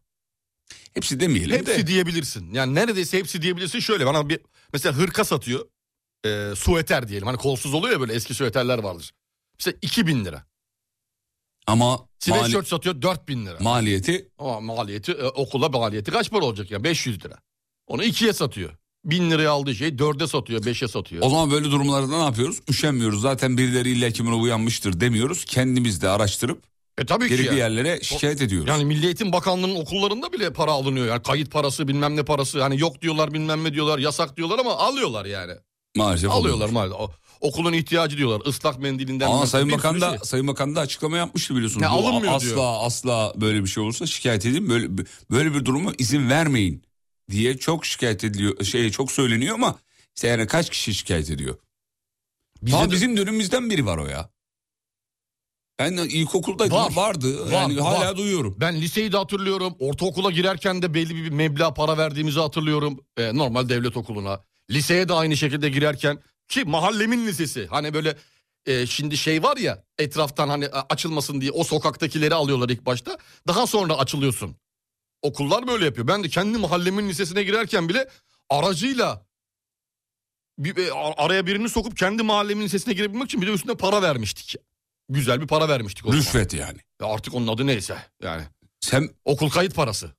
Hepsi demeyelim Hepsi de. diyebilirsin. Yani neredeyse hepsi diyebilirsin. Şöyle bana bir mesela hırka satıyor. Ee, sueter diyelim. Hani kolsuz oluyor ya böyle eski sueterler vardır. İşte 2000 lira. Ama mali- Sweatshirt satıyor 4000 lira. maliyeti Ama maliyeti e, okula maliyeti kaç para olacak ya? 500 lira. Onu ikiye satıyor. 1000 liraya aldığı şeyi 4'e satıyor, 5'e satıyor. O zaman böyle durumlarda ne yapıyoruz? Üşenmiyoruz. Zaten birileri illa kimin uyanmıştır demiyoruz. Kendimiz de araştırıp e tabii ki gerekli yani. yerlere şikayet ediyoruz. Yani Milli Eğitim Bakanlığı'nın okullarında bile para alınıyor. Yani kayıt parası bilmem ne parası. Hani yok diyorlar bilmem ne diyorlar yasak diyorlar ama alıyorlar yani. Maalesef Alıyorlar oluyor. maalesef. O- Okulun ihtiyacı diyorlar. Islak mendilinden. Ama bilmem- Sayın bir sürü Bakan da şey. Sayın Bakan da açıklama yapmıştı biliyorsunuz. Ya Bu alınmıyor asla diyor. asla böyle bir şey olursa şikayet edin. Böyle böyle bir duruma izin vermeyin diye çok şikayet ediliyor. Şey çok söyleniyor ama işte yani kaç kişi şikayet ediyor? Bize Daha de- bizim dönümümüzden biri var o ya. Ben ilkokulda Var. vardı. Var, yani hala var. duyuyorum. Ben liseyi de hatırlıyorum. Ortaokula girerken de belli bir meblağ para verdiğimizi hatırlıyorum. Ee, normal devlet okuluna. Liseye de aynı şekilde girerken. Ki mahallemin lisesi. Hani böyle e, şimdi şey var ya etraftan hani a- açılmasın diye o sokaktakileri alıyorlar ilk başta. Daha sonra açılıyorsun. Okullar böyle yapıyor. Ben de kendi mahallemin lisesine girerken bile aracıyla bir, e, ar- araya birini sokup kendi mahallemin lisesine girebilmek için bir de üstüne para vermiştik. Güzel bir para vermiştik o zaman. Rüşvet yani. Ya Artık onun adı neyse yani. Sen Okul kayıt parası.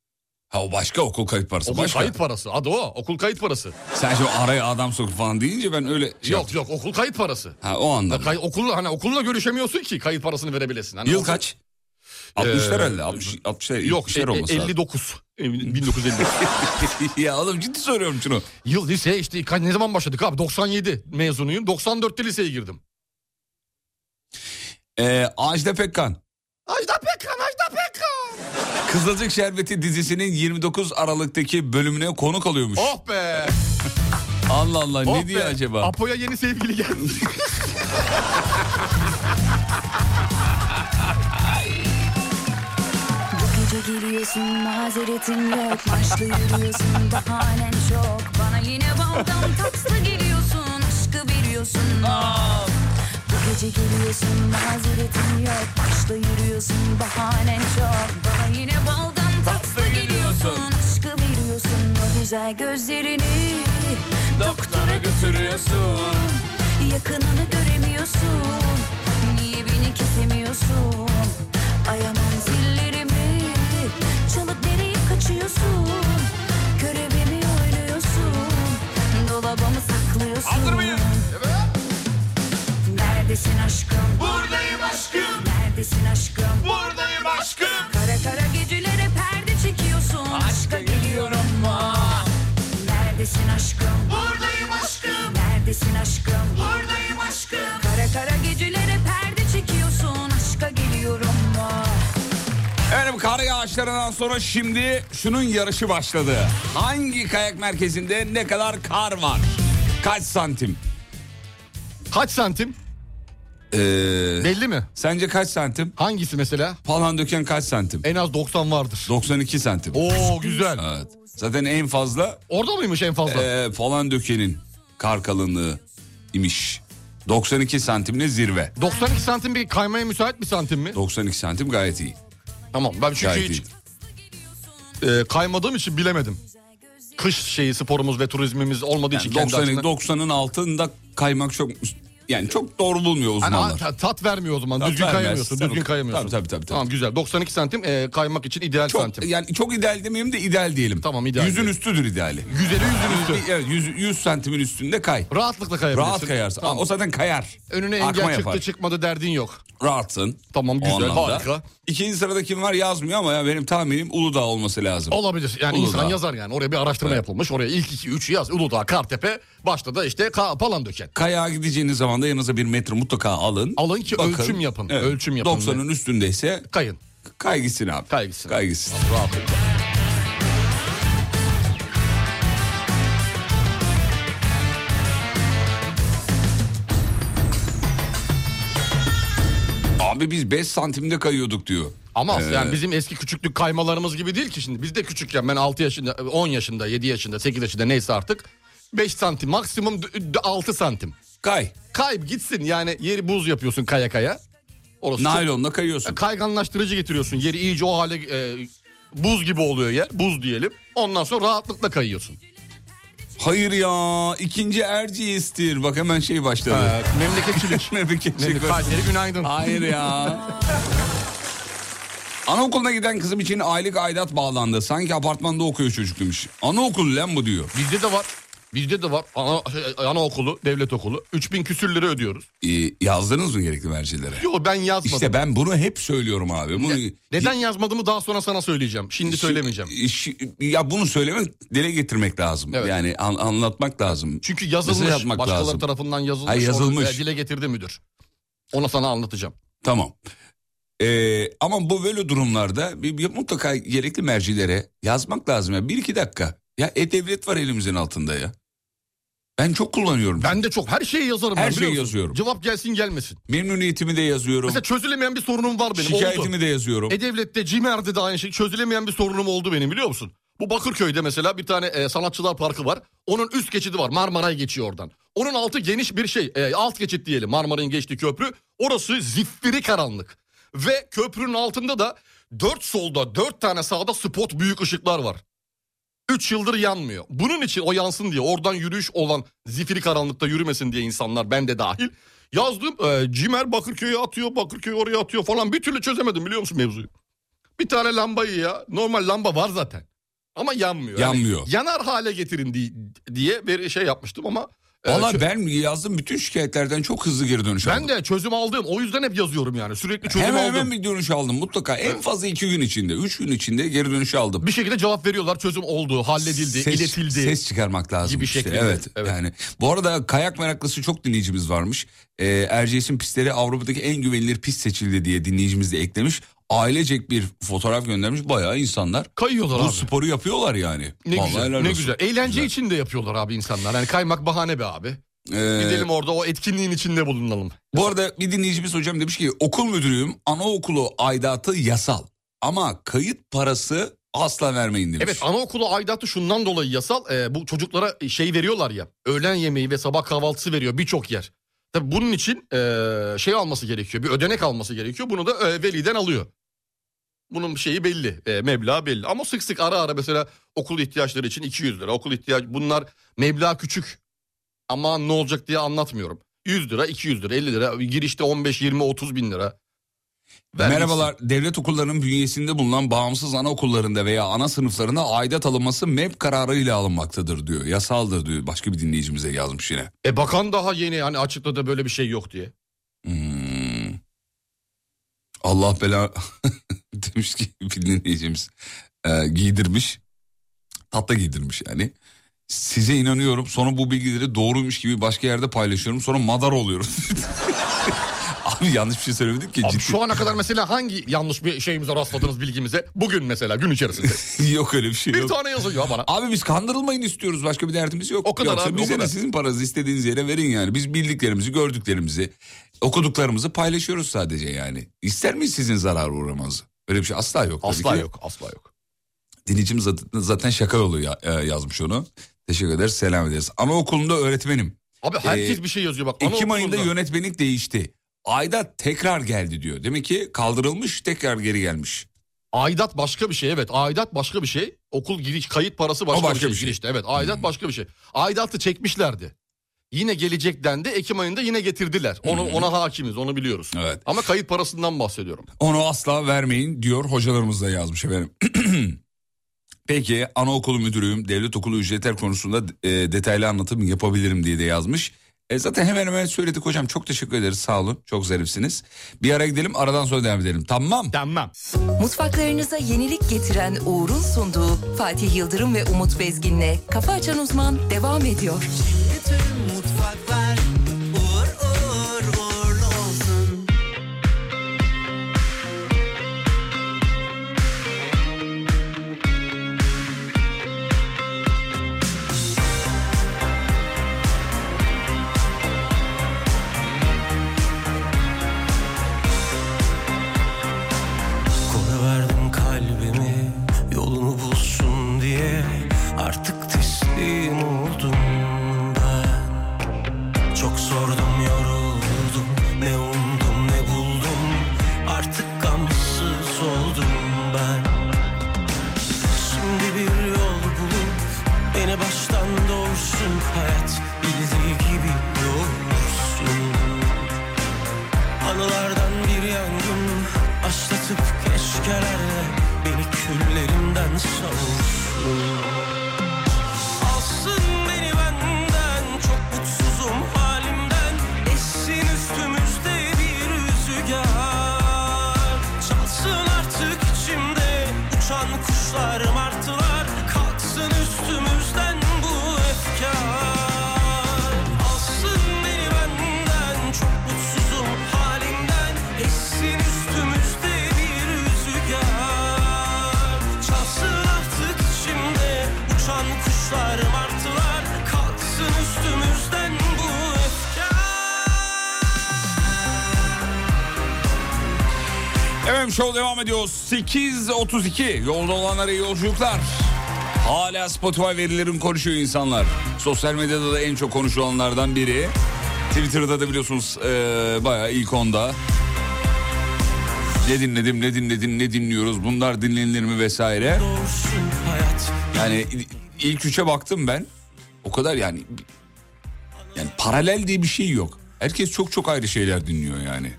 ha o başka okul kayıt parası. Okul başka. kayıt parası. Adı o. Okul kayıt parası. Sen şimdi araya adam sokup falan deyince ben öyle şey yok yaptım. yok okul kayıt parası. Ha o anda. Ya Kay, okulla hani okulla görüşemiyorsun ki kayıt parasını verebilesin. Hani Yıl o- kaç? 60'lar Ee, herhalde. 60 60'lar Yok 70'ler e- olması e- lazım. 59. [LAUGHS] E, 1959. ya oğlum ciddi söylüyorum şunu. Yıl lise işte ka- ne zaman başladık abi? 97 mezunuyum. 94'te liseye girdim. Ee, Ajda Pekkan. Ajda Pekkan, Ajda Pekkan. Kızılcık Şerbeti dizisinin 29 Aralık'taki bölümüne konuk oluyormuş. Oh be. Allah Allah oh ne diye be. acaba? Apo'ya yeni [LAUGHS] sevgili geldi. Bu gece geliyorsun mazeretin yok Maçlı yürüyorsun bahanen çok Bana yine baldan tatlı geliyorsun Aşkı veriyorsun Bu gece geliyorsun mazeretin yok Maçlı yürüyorsun bahanen çok Bana yine baldan tatlı geliyorsun Aşkı veriyorsun o güzel gözlerini Doktora götürüyorsun Yakınını göremiyorsun Niye beni kesemiyorsun Ayamam zillerimi Çalıp nereye kaçıyorsun Görevimi oynuyorsun Dolabımı saklıyorsun Andırmayın Neredesin aşkım Buradayım aşkım Neredesin aşkım Buradayım aşkım Kara kara gecelere perde çekiyorsun Aşka geliyorum Neredesin aşkım Buradayım aşkım Neredesin aşkım Buradayım aşkım Kara kara gecelere perde çekiyorsun Aşka geliyorum Efendim kar yağışlarından sonra şimdi şunun yarışı başladı. Hangi kayak merkezinde ne kadar kar var? Kaç santim? Kaç santim? Ee, Belli mi? sence kaç santim? Hangisi mesela? Palan döken kaç santim? En az 90 vardır. 92 santim. Oo güzel. Evet. Zaten en fazla Orada mıymış en fazla? e, falan dökenin kar kalınlığı imiş. 92 santimle zirve. 92 santim bir kaymaya müsait bir santim mi? 92 santim gayet iyi. Tamam ben çünkü Gayet iyi. hiç e, kaymadığım için bilemedim. kış şeyi sporumuz ve turizmimiz olmadığı için Yani kendi 90'ın aslında- 90'ın altında kaymak çok yani çok doğru bulmuyor Hani uzmanlar. ta- tat vermiyor o zaman. Tat düzgün vermez. kayamıyorsun. Tabii, Düzgün kayamıyorsun. tabii, tabii, tabii. Tamam güzel. 92 santim e, kaymak için ideal çok santim. yani çok ideal demeyeyim de ideal diyelim. Tamam, ideal Yüzün diyelim. üstüdür ideali. Güzeli yüzün üstü. Yüz, evet, yüz, yüz santimin üstünde kay. Rahatlıkla kayabilirsin. Rahat kayarsın. Tamam. Aa, O zaten kayar. Önüne Akma engel çıktı yapar. çıkmadı derdin yok. Rahatsın. Tamam, O güzel, anlamda. harika. İkinci sırada kim var yazmıyor ama ya benim tahminim Uludağ olması lazım. Olabilir. Yani Uludağ. insan yazar yani. Oraya bir araştırma yapılmış. Oraya ilk 2 3 yaz. Uludağ, Kartepe, başta da işte Ka Palandöken. Kayağa gideceğiniz zaman da yanınıza bir metre mutlaka alın. Alın ki ölçüm yapın, ölçüm yapın. 90'ın üstündeyse Kayın. kay gitsin abi. Kay gitsin. Kay gitsin. Rahatlıkla. Abi biz 5 santimde kayıyorduk diyor. Ama yani bizim eski küçüklük kaymalarımız gibi değil ki şimdi. Biz de küçükken ben 6 yaşında, 10 yaşında, 7 yaşında, 8 yaşında neyse artık 5 santim maksimum 6 santim. Kay. Kayıp gitsin yani yeri buz yapıyorsun kaya kaya. Orası çok- Naylonla kayıyorsun. kayganlaştırıcı getiriyorsun. Yeri iyice o hale e, buz gibi oluyor yer. Buz diyelim. Ondan sonra rahatlıkla kayıyorsun. Hayır ya ikinci Erciyes'tir. Bak hemen şey başladı. [LAUGHS] memleketçilik. Memleketçilik. Memleket- Kayseri günaydın. Hayır ya. Anaokuluna giden kızım için aylık aidat bağlandı. Sanki apartmanda okuyor çocuk demiş. Anaokul lan bu diyor. Bizde de var. Bizde de var. Ana, e, anaokulu, devlet okulu. 3000 küsür lira ödüyoruz. Ee, yazdınız mı gerekli mercilere? Yo ben yazmadım. İşte ben bunu hep söylüyorum abi. Bunu, Neden yazmadığımı daha sonra sana söyleyeceğim. Şimdi söylemeyeceğim. Şi- Ya bunu söylemek dile getirmek lazım. Evet. Yani an- anlatmak lazım. Çünkü yazılmış. Mesaj atmak başkaları lazım. tarafından yazılmış. Ha, yazılmış. onu, e, dile getirdi müdür. Ona sana anlatacağım. Tamam. Ee, ama bu böyle durumlarda bir, bir mutlaka gerekli mercilere yazmak lazım ya. Bir iki dakika. Ya e-devlet var elimizin altında ya. Ben çok kullanıyorum. Ben de çok her şeyi yazarım. Her ben, biliyor şeyi musun? yazıyorum. Cevap gelsin gelmesin. Memnuniyetimi de yazıyorum. Mesela çözülemeyen bir sorunum var benim. oldu. E- Şikayetimi de yazıyorum. E-Devlet'te, CİMER'de de aynı şey. Çözülemeyen bir sorunum oldu benim biliyor musun? Bu Bakırköy'de mesela bir tane e, sanatçılar parkı var. Onun üst geçidi var. Marmaray geçiyor oradan. Onun altı geniş bir şey. e, alt geçit diyelim. Marmaray'ın geçtiği köprü. Orası zifiri karanlık. Ve köprünün altında da dört solda, dört tane sağda spot büyük ışıklar var. Üç yıldır yanmıyor. Bunun için o yansın diye oradan yürüyüş olan zifiri karanlıkta yürümesin diye insanlar ben de dahil. Yazdım e, Cimer Bakırköy'e atıyor, Bakırköy oraya atıyor falan bir türlü çözemedim biliyor musun mevzuyu? Bir tane lambayı ya. Normal lamba var zaten. Ama yanmıyor. Yani Yanmıyor. yanar hale getirin di- diye bir şey yapmıştım ama. e, Valla çö- ben yazdım bütün şikayetlerden çok hızlı geri dönüş ben aldım. de çözüm aldım. O yüzden hep yazıyorum yani. Sürekli çözüm hemen aldım. hemen bir dönüş aldım mutlaka. En fazla iki gün içinde, üç gün içinde geri dönüş aldım. Bir şekilde cevap veriyorlar. Çözüm oldu, halledildi, iletildi. Ses çıkarmak lazım. Gibi işte. şeklinde, Evet, evet. Yani bu arada kayak meraklısı çok dinleyicimiz varmış. Ee, Erciyes'in pistleri Avrupa'daki en güvenilir pist seçildi diye dinleyicimiz de eklemiş. Ailecek bir fotoğraf göndermiş bayağı insanlar. Kayıyorlar Bu abi. sporu yapıyorlar yani. Ne Vallahi güzel, helal ne olsun. güzel. E, Eğlence için de yapıyorlar abi insanlar. Yani kaymak bahane be abi. Ee, Gidelim orada o etkinliğin içinde bulunalım. Bu arada bir dinleyicimiz hocam demiş ki okul müdürüyüm anaokulu aidatı yasal ama kayıt parası asla vermeyin demiş. Evet anaokulu aidatı şundan dolayı yasal. e, bu çocuklara şey veriyorlar ya. Öğlen yemeği ve sabah kahvaltısı veriyor birçok yer. Tabii bunun için e, şey alması gerekiyor. Bir ödenek alması gerekiyor. Bunu da e, veliden alıyor. Bunun şeyi belli. E, meblağı belli. Ama sık sık ara ara mesela okul ihtiyaçları için 200 lira. Okul ihtiyaç bunlar meblağ küçük. Ama ne olacak diye anlatmıyorum. 100 lira, 200 lira, 50 lira. Girişte 15, 20, 30 bin lira. Ver Merhabalar. Devlet okullarının bünyesinde bulunan bağımsız anaokullarında veya ana sınıflarında aidat alınması MEP kararıyla alınmaktadır diyor. Yasaldır diyor. Başka bir dinleyicimize yazmış yine. E bakan daha yeni hani açıkladı böyle bir şey yok diye. Hmm. Allah bela [LAUGHS] demiş ki bir dinleyicimiz Ee, giydirmiş. Tatlı giydirmiş yani. Size inanıyorum sonra bu bilgileri doğruymuş gibi başka yerde paylaşıyorum sonra madar oluyorum. [LAUGHS] Abi yanlış bir şey söylemedim ki. Abi ciddi. şu ana kadar mesela hangi yanlış bir şeyimize rastladınız bilgimize? Bugün mesela gün [LAUGHS] [LAUGHS] içerisinde. Yok öyle bir şey bir yok. tane yazıyor bana. Abi biz kandırılmayın istiyoruz. Başka bir derdimiz yok. O kadar Yoksa abi, o bize de kadar. sizin paranızı istediğiniz yere verin yani. Biz bildiklerimizi, gördüklerimizi, okuduklarımızı paylaşıyoruz sadece yani. İster miyiz sizin zarar uğramanızı? Öyle bir şey asla yok. tabii Asla ki. yok asla yok. Dinleyicimiz zaten- zaten şaka yolu ya- e, yazmış onu. Teşekkür ederiz, selam ederiz. Anaokulunda öğretmenim. Abi herkes Ee, bir şey yazıyor bak. Ekim ayında anaokulunda. yönetmenlik değişti. Ayda tekrar geldi diyor. Demek ki kaldırılmış, tekrar geri gelmiş. Aidat başka bir şey evet. Aidat başka bir şey. Okul giriş kayıt parası başka, bir şey. Girişte, evet aidat başka bir şey. Aidatı çekmişlerdi. Yine gelecek dendi. Ekim ayında yine getirdiler. Onu ona hakimiz onu biliyoruz. Evet. Ama kayıt parasından bahsediyorum. Onu asla vermeyin diyor hocalarımız da yazmış efendim. [CLEARS THROAT] Peki anaokulu müdürüyüm devlet okulu ücretler konusunda e, detaylı anlatım yapabilirim diye de yazmış. E, zaten hemen hemen söyledik hocam çok teşekkür ederiz sağ olun çok zarifsiniz. Bir ara gidelim aradan sonra devam edelim tamam. Denmem. Mutfaklarınıza yenilik getiren Uğur'un sunduğu Fatih Yıldırım ve Umut Bezgin'le Kafa Açan Uzman devam ediyor. Bütün mutfaklar uğur uğur uğurlu olsun. Kola verdim kalbimi yolunu bulsun diye artık teslim oldum ben. Çok sordum yoruldum ne umdum ne buldum artık gamsız oldum ben. Şimdi bir yol bulup beni baştan doğursun hayat bildiği gibi doğursun. Anılardan bir yangın Başlatıp keşkelerle Beni küllerimden savursun Alsın beni benden Çok mutsuzum halimden Essin üstümüzde bir rüzgar Çalsın artık içimde Uçan kuşlar martılar Kalksın üstümüzden bu efkar Alsın beni benden Çok mutsuzum halimden Essin üstümüzde bir rüzgar Çalsın artık içimde Uçan kuşlar martılar Kalksın üstümüzden bu efkar Efendim show devam ediyor. 8.32 yolda olanlara iyi yolculuklar. Hala Spotify verilerim konuşuyor insanlar. Sosyal medyada da en çok konuşulanlardan biri. Twitter'da da biliyorsunuz eee bayağı ilk onda. Ne dinledim, ne dinledim, ne dinliyoruz, bunlar dinlenir mi vesaire. Doğursun hayat Yani il- ilk üçe baktım ben. O kadar yani yani paralel diye bir şey yok. Herkes çok çok ayrı şeyler dinliyor yani.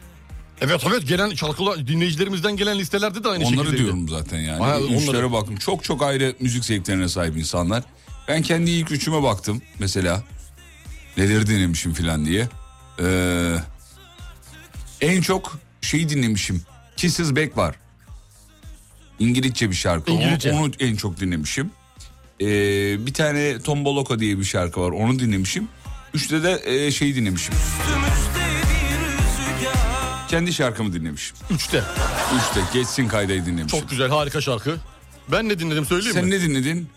Evet evet gelen çalkılar dinleyicilerimizden gelen listelerde de aynı şekilde. Onları diyorum zaten yani. Ha, İlk onları. üçlere baktım. Çok çok ayrı müzik zevklerine sahip insanlar. Ben kendi ilk üçüme baktım mesela. Neleri dinlemişim filan diye. Ee, en çok şeyi dinlemişim. Kisses Back var. İngilizce bir şarkı. Onu- İngilizce. Onu, en çok dinlemişim. Ee, bir tane Tomboloka diye bir şarkı var. Onu dinlemişim. Üçte de e, şeyi dinlemişim. üstümüzde bir rüzgar Kendi şarkımı dinlemişim. Üçte. Üçte geçsin kaydayı dinlemişim. Çok güzel harika şarkı. Ben ne dinledim söyleyeyim Sen mi? ne dinledin?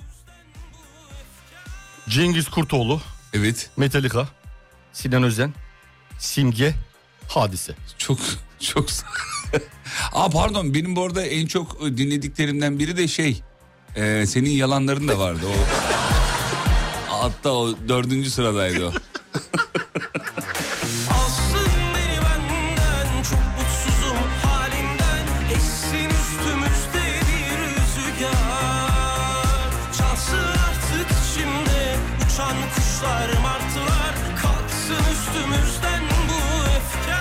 Cengiz Kurtoğlu, Evet. Metallica, Sinan Özen, Simge, Hadise. Çok çok. [LAUGHS] Aa pardon benim bu arada en çok dinlediklerimden biri de şey. e, senin yalanların da vardı o. [LAUGHS] Hatta o dördüncü sıradaydı o. Alsın beni benden çok mutsuzum halimden Essin üstümüzde bir rüzgar Çalsın artık içimde uçan kuşlar martılar Kalksın üstümüzden bu öfke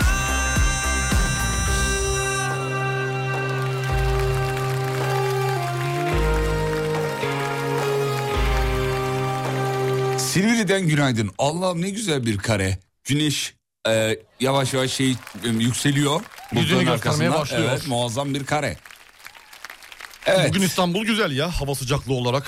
Silivri'den günaydın. Allah'ım ne güzel bir kare. Güneş e, yavaş yavaş şey e, yükseliyor. Bulutların göstermeye arkasından. başlıyor. Evet muazzam bir kare. Evet. Bugün İstanbul güzel ya hava sıcaklığı olarak.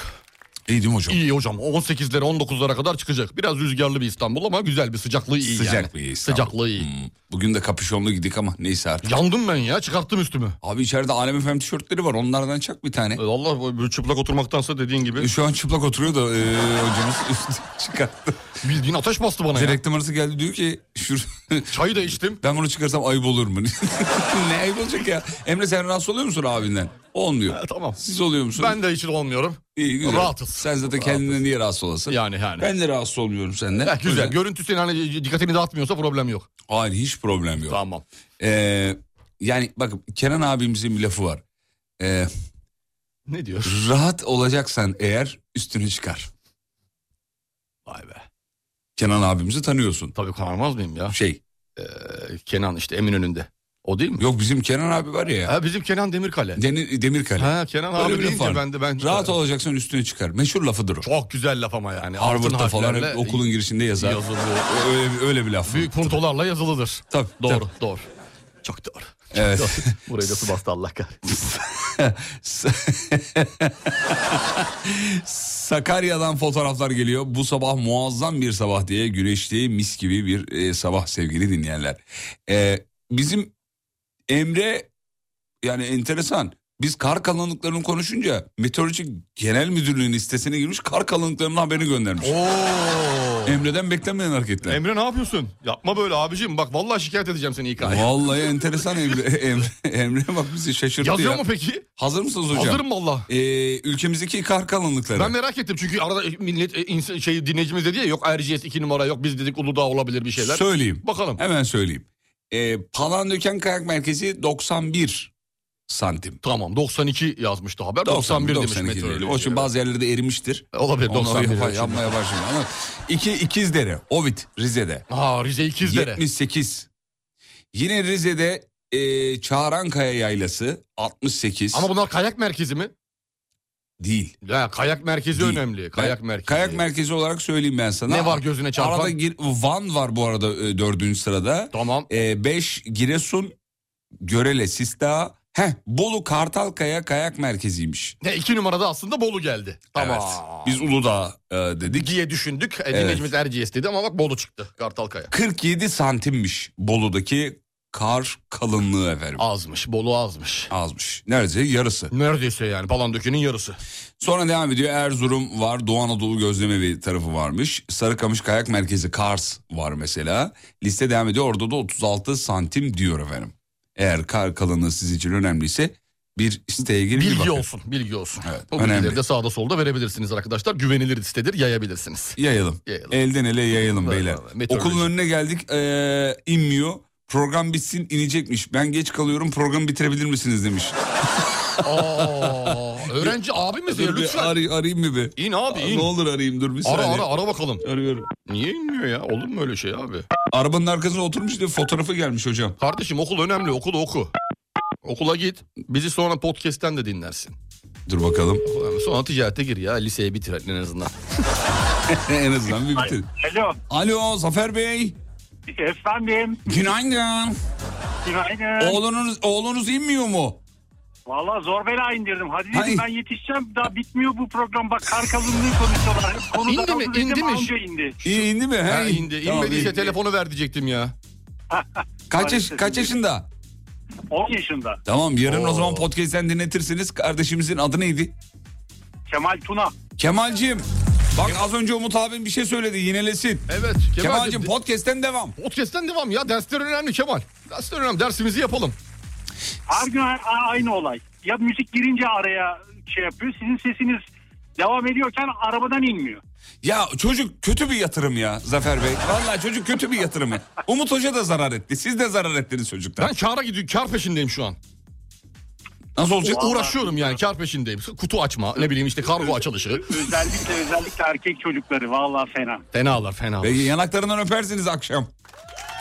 İyi değil mi hocam? İyi hocam 18'lere 19'lara kadar çıkacak. Biraz rüzgarlı bir İstanbul ama güzel bir sıcaklığı iyi yani. Sıcaklığı iyi İstanbul. Sıcaklığı iyi. Hmm, Bugün de kapüşonlu gidik ama neyse artık. Yandım ben ya çıkarttım üstümü. Abi içeride Alem FM tişörtleri var onlardan çak bir tane. E, Allah böyle çıplak oturmaktansa dediğin gibi Şu an çıplak oturuyor da e, hocamız [LAUGHS] üstü çıkarttı. bildiğin ateş bastı bana ya. Direkt numarası geldi diyor ki şur, [LAUGHS] Çayı da içtim. ben bunu çıkarsam ayıp olur mu? [LAUGHS] ne ayıp olacak ya? Emre sen rahatsız oluyor musun abinden? Olmuyor. E, tamam. Siz oluyor musunuz? Ben de hiç olmuyorum. İyi, güzel. rahatız. Sen zaten kendinden niye rahatsız olasın? Yani yani. Ben de rahatsız olmuyorum senden. Eh, güzel. Güzel. Görüntü senin hani dikkatini dağıtmıyorsa problem yok. Hayır hiç problem yok. Tamam. Ee, yani bakın Kenan abimizin bir lafı var. Ee, Ne diyor? rahat olacaksan eğer üstünü çıkar. Vay be. Kenan abimizi tanıyorsun. Tabii kanmaz mıyım ya? Şey Ee, Kenan işte Eminönü'nde. O değil mi? yok bizim Kenan abi var ya. Ha, bizim Kenan Demirkale. Demir, Demirkale. Ha Kenan Öyle abi bir laf deyince var. ben de ben Rahat olacaksan üstüne çıkar. Meşhur lafıdır o. Çok güzel laf ama yani. Harvard'da Altın falan hep harflerle okulun girişinde yazar. yazılı. Öyle, öyle bir laf. Büyük puntolarla yazılıdır. Tabii, Doğru, tabii. doğru. Çok [LAUGHS] doğru. Evet. Burayı da su bastı Allah kahretsin. Sakarya'dan fotoğraflar geliyor. Bu sabah muazzam bir sabah diye güneşli mis gibi bir e, sabah sevgili dinleyenler. E, bizim Emre yani enteresan. Biz kar kalınlıklarını konuşunca meteoroloji genel müdürlüğünün sitesine girmiş kar kalınlıklarının haberini göndermiş. Oo. Emre'den beklenmeyen hareketler. Emre ne yapıyorsun? Yapma böyle abicim. Bak vallahi şikayet edeceğim seni İK'ya. Vallahi enteresan Emre. [LAUGHS] Emre, Emre bak bizi şaşırttı Yazıyor ya. mu peki? Hazır mısınız hocam? Hazırım valla. E, ülkemizdeki kar kalınlıkları. Ben merak ettim çünkü arada millet e, insan, şey dinleyicimiz dedi ya yok RGS 2 numara yok biz dedik Uludağ olabilir bir şeyler. Söyleyeyim. Bakalım. Hemen söyleyeyim. Ee, Palandöken Kayak Merkezi 91 santim. Tamam 92 yazmıştı haber. 91, demiş 92 diyelim. meteoroloji. O için bazı yerlerde erimiştir. Olabilir, Onları 91 yapa- ölçümü. yapmaya başlayalım. Ama İki, İkizdere, Ovid, Rize'de. Ha Rize İkizdere. 78. Yine Rize'de e, Çağrankaya Yaylası 68. Ama bunlar kayak merkezi mi? değil. Ya kayak merkezi Değil. önemli. Kayak Ben- merkezi. Kayak merkezi olarak söyleyeyim ben sana. Ne var gözüne çarpan? Arada gir- Van var bu arada e, dördüncü sırada. Tamam. 5 Giresun, Görele, Sistah. Heh, Bolu Kartalkaya Kayak Merkeziymiş. Ne iki numarada aslında Bolu geldi. Tamam. Evet. Biz Uludağ e, dedik. diye düşündük. E, Evet. Dinleyicimiz RGS dedi ama bak Bolu çıktı. Kartalkaya. 47 santimmiş Bolu'daki kar kalınlığı efendim. Azmış. Bolu azmış. Azmış. Neredeyse yarısı. Neredeyse yani Palandöken'in yarısı. Sonra devam ediyor. Erzurum var. Doğu Anadolu Gözleme Evi tarafı varmış. Sarıkamış Kayak Merkezi Kars var mesela. Liste devam ediyor. Orada da 36 santim diyor efendim. Eğer kar kalınlığı sizin için önemliyse bir siteye girip bir Bilgi bakın. olsun, bilgi olsun. Evet, Bu bilgileri önemli. de sağda solda verebilirsiniz arkadaşlar. Güvenilir sitedir, yayabilirsiniz. Yayalım. Yayalım. Elden ele yayalım Vallahi beyler. vallahi, meteoroloji. Okulun önüne geldik ee, inmiyor. Program bitsin inecekmiş. Ben geç kalıyorum programı bitirebilir misiniz demiş. Aa, öğrenci abimiz ya Dur bir lütfen. aray- arayayım mı bir? İn abi Ne in. olur arayayım dur bir Ara saniye. ara ara bakalım. Arıyorum. Niye inmiyor ya? Olur mu öyle şey abi? Arabanın arkasına oturmuş diye fotoğrafı gelmiş hocam. Kardeşim okul önemli, okul oku. Okula git. Bizi sonra podcast'ten de dinlersin. Dur bakalım. Sonra ticarete gir ya. Liseyi bitir en azından. E, en azından bir bitir. Alo Alo Zafer Bey. efendim Günaydın. günaydın. Oğlunuz oğlunuz inmiyor mu? Valla zor bela indirdim. Hadi dedim Ay. ben yetişeceğim daha bitmiyor bu program. Bak kar kalınlığı konuşuyorlar. Hep Konuda İndi mi? kaldı dedim, İndi mi? Anca indi. İyi indi mi? He, Ha, iyi. indi. Tamam, İnmediyse iyi. telefonu ver diyecektim ya. Kaç, yaş, Maalesef kaç indi. yaşında? 10 yaşında. Tamam yarın o Oo. zaman podcast'ten dinletirsiniz. Kardeşimizin adı neydi? Kemal Tuna. Kemal'cim bak az önce Umut abim bir şey söyledi yinelesin. Evet. Kemal'cim podcast'ten devam. Podcast'ten devam ya. Dersler önemli Kemal. Dersler önemli. Dersimizi yapalım. Her gün a- aynı olay. Ya müzik girince araya şey yapıyor. Sizin sesiniz devam ediyorken arabadan inmiyor. Ya çocuk kötü bir yatırım ya Zafer Bey. Vallahi çocuk kötü bir yatırım. ya. Umut Hoca da zarar etti. Siz de zarar ettiniz çocuktan. Ben kâra gidiyorum. Kâr peşindeyim şu an. Nasıl olacak? Uğra- Uğraşıyorum yani. Kâr peşindeyim. Kutu açma. Ne bileyim işte [LAUGHS] kargo açılışı. Özellikle özellikle erkek çocukları. Valla fena. Fenalar fena. Peki yanaklarından öpersiniz akşam.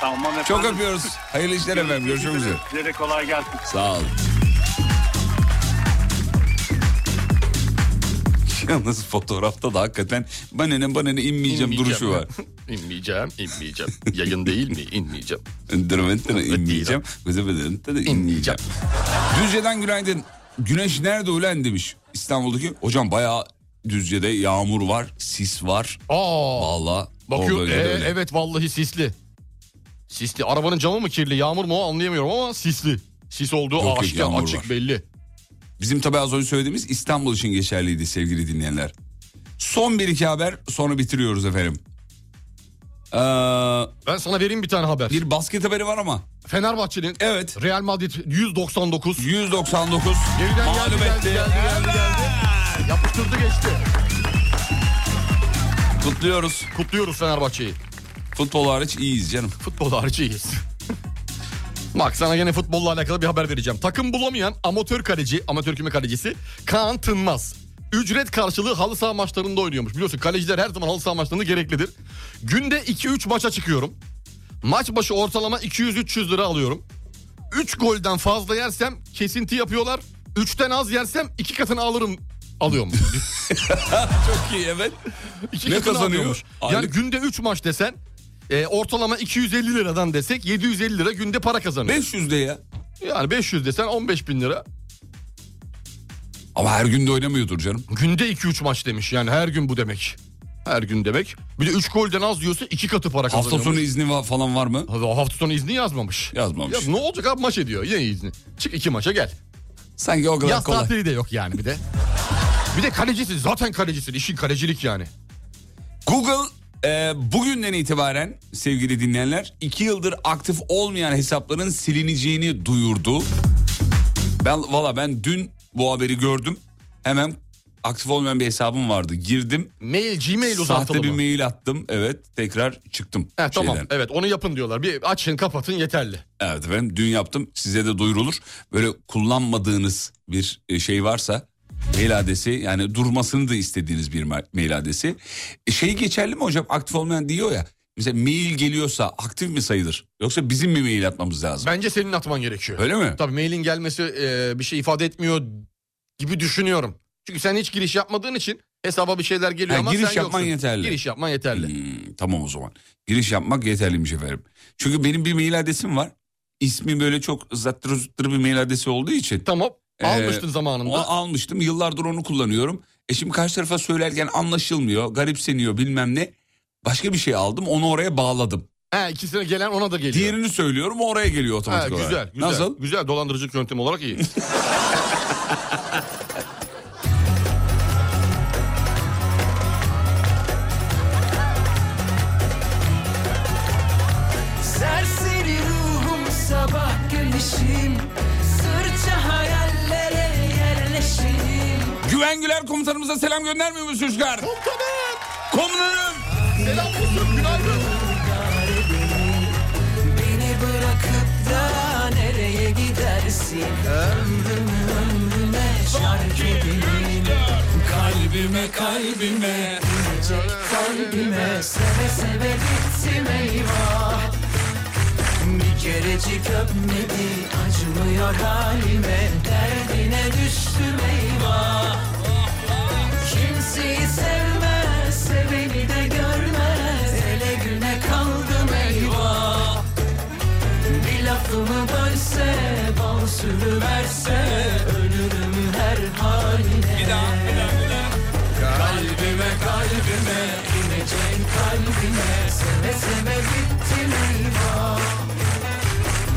Tamam efendim. Çok öpüyoruz. Hayırlı işler efendim. Görüşmek üzere. Size de kolay gelsin. Sağ ol. [LAUGHS] Yalnız fotoğrafta da hakikaten banene banene inmeyeceğim duruşu [LAUGHS] var. inmeyeceğim, inmeyeceğim. Yayın değil mi? İnmeyeceğim. Dırmentten de inmeyeceğim. Gıdıbıdıntı da inmeyeceğim. Düzce'den günaydın. Güneş nerede ulan demiş. İstanbul'daki hocam bayağı Düzce'de yağmur var, sis var. Aa, Valla bakıyor. Ee, evet vallahi sisli. Sisli. Arabanın camı mı kirli? Yağmur mu? o Anlayamıyorum ama sisli. Sis olduğu Yok, yok, aşikar, yağmur açık var. belli. Bizim tabi az önce söylediğimiz İstanbul için geçerliydi sevgili dinleyenler. Son bir iki haber sonra bitiriyoruz efendim. Ee, Ben sana vereyim bir tane haber. bir basket haberi var ama. Fenerbahçe'nin Evet. Real Madrid 199 199 Geriden geldi, mağlup geldi, etti. geldi, geldi, Evet. yapıştırdı geçti. Kutluyoruz. Kutluyoruz Fenerbahçe'yi. [LAUGHS] Futbol hariç iyiyiz canım. Futbol harici iyiyiz. Bak sana gene futbolla alakalı bir haber vereceğim. Takım bulamayan amatör kaleci, amatör küme kalecisi Kaan Tınmaz. Ücret karşılığı halı saha maçlarında oynuyormuş. Biliyorsun kaleciler her zaman halı saha maçlarında gereklidir. Günde 2-3 maça çıkıyorum. Maç başı ortalama 200-300 lira alıyorum. 3 golden fazla yersem kesinti yapıyorlar. 3'ten az yersem 2 katını alırım alıyorum. Çok iyi evet. İki Ne katını kazanıyor? alıyormuş. Yani Aylık. günde 3 maç desen e, ortalama 250 liradan desek 750 lira günde para kazanıyor. 500 de ya. Yani 500 desen 15 bin lira. Ama her gün de oynamıyordur canım. Günde 2-3 maç demiş yani her gün bu demek. Her gün demek. Bir de 3 golden az diyorsa 2 katı para Hafta kazanıyor. sonu izni va- falan var mı? Hafta sonu izni yazmamış. Yazmamış. Ya ne olacak abi maç ediyor. Yine izni. Çık iki maça gel. Sanki o kadar Yaz kolay. tatili de yok yani bir de. bir de kalecisin. Zaten kalecisin. İşin kalecilik yani. Google e, bugünden itibaren sevgili dinleyenler 2 yıldır aktif olmayan hesapların silineceğini duyurdu. Ben valla ben dün bu haberi gördüm. Hemen aktif olmayan bir hesabım vardı. Girdim. Mail, Gmail uzantılı Sahte bir mı? mail attım. Evet tekrar çıktım. Heh, tamam şeyden. evet onu yapın diyorlar. Bir açın kapatın yeterli. Evet efendim dün yaptım size de duyurulur. Böyle kullanmadığınız bir e, şey varsa mail adresi yani durmasını da istediğiniz bir ma- mail adresi. E, Şey geçerli mi hocam aktif olmayan diyor ya. Mesela mail geliyorsa aktif mi sayılır? Yoksa bizim mi mail atmamız lazım? Bence senin atman gerekiyor. Öyle mi? Tabii mailin gelmesi e, bir şey ifade etmiyor gibi düşünüyorum. Çünkü sen hiç giriş yapmadığın için hesaba bir şeyler geliyor Ha, ama giriş sen yapman yoksun. yeterli. Giriş yapman yeterli. Hmm, tamam o zaman. Giriş yapmak yeterliymiş efendim. Çünkü benim bir mail adresim var. İsmi böyle çok zattırı zıttırı bir mail adresi olduğu için. Tamam. Ee, Almıştın zamanında. O almıştım. Yıllardır onu kullanıyorum. E şimdi karşı tarafa söylerken anlaşılmıyor, garipseniyor bilmem ne. Başka bir şey aldım, onu oraya bağladım. Ha, ikisine gelen ona da geliyor. Diğerini söylüyorum, o oraya geliyor ha, otomatik güzel, olarak. güzel. Nasıl? Güzel dolandırıcılık yöntemi olarak iyi. [LAUGHS] Serseri ruhum sabah güneşim Sırça hayallere yerleşim Güven Güler komutanımıza selam göndermiyor musun çocuklar? Komutanım! Komutanım! Beni bırakıp da nereye gidersin Ömrümü ömrüme şark edeyim Kalbime kalbime inecek kalbime Seve seve gittim eyvah Bir kerecik öpmedi acımıyor halime Derdine düştüm eyvah Kimseyi sevmez, seveni de görmez Ele güne kaldım eyvah bir lafımı bölse, bal sürüverse Ölürüm her haline Bir daha, bir daha, bir daha. Kalbime, kalbime, inecek kalbime Seve seve bittim eyvah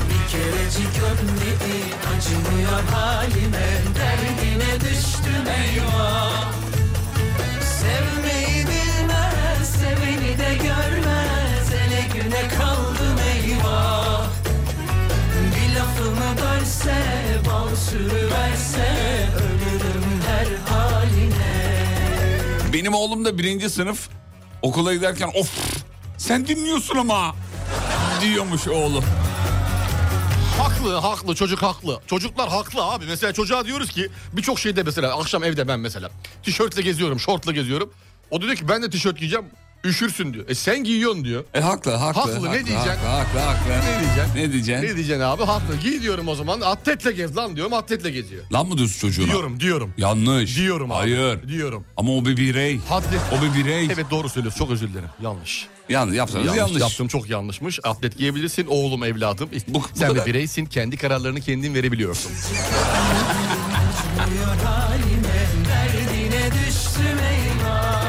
Bir kerecik öpmedi, acımıyor halime Derdine düştüm eyvah Sevmeyi bilmez, seveni de görmez Ele güne kaldım eyvah bir lafımı bölse, bal sürüverse Ölürüm her haline Benim oğlum da birinci sınıf okula giderken of sen dinliyorsun ama diyormuş oğlum. haklı, haklı, çocuk haklı. Çocuklar haklı abi. Mesela çocuğa diyoruz ki birçok şeyde mesela akşam evde ben mesela tişörtle geziyorum, şortla geziyorum. O da diyor ki ben de tişört giyeceğim. Üşürsün diyor. E sen giyiyorsun diyor. [LAUGHS] E haklı haklı. Haklı, ne diyeceksin? Haklı haklı. haklı. Ne diyeceksin? Ne diyeceksin? Ne diyeceksin abi? Haklı. Giy diyorum o zaman. Atletle gez lan diyorum. Atletle geziyor. Lan mı diyorsun çocuğuna? Diyorum, diyorum. Yanlış. Diyorum abi. Hayır. Diyorum. Ama o bir birey. Haddi. O bir birey. Evet doğru söylüyorsun. Çok özür dilerim. Yanlış. Yanlış yapsanız yanlış. Yaptım çok yanlışmış. Atlet giyebilirsin oğlum evladım. Bu- Sen bu de kadar. bireysin. Kendi kararlarını kendin verebiliyorsun. Diyor halime, derdine düştüm eyvah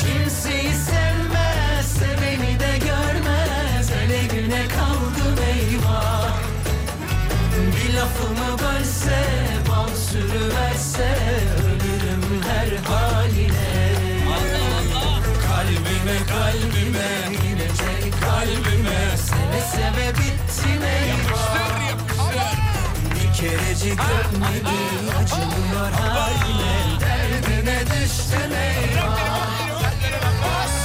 Kimseyi sevmez, seveni de görmez Ele güne kaldım eyvah Bir lafımı bölse, bal sürüverse Ölürüm her haline Kalbime kalbime inecek kalbime Seve seve bittim eyvah bir kerecik öpmedi acımıyor haline Derdine düştün eyvah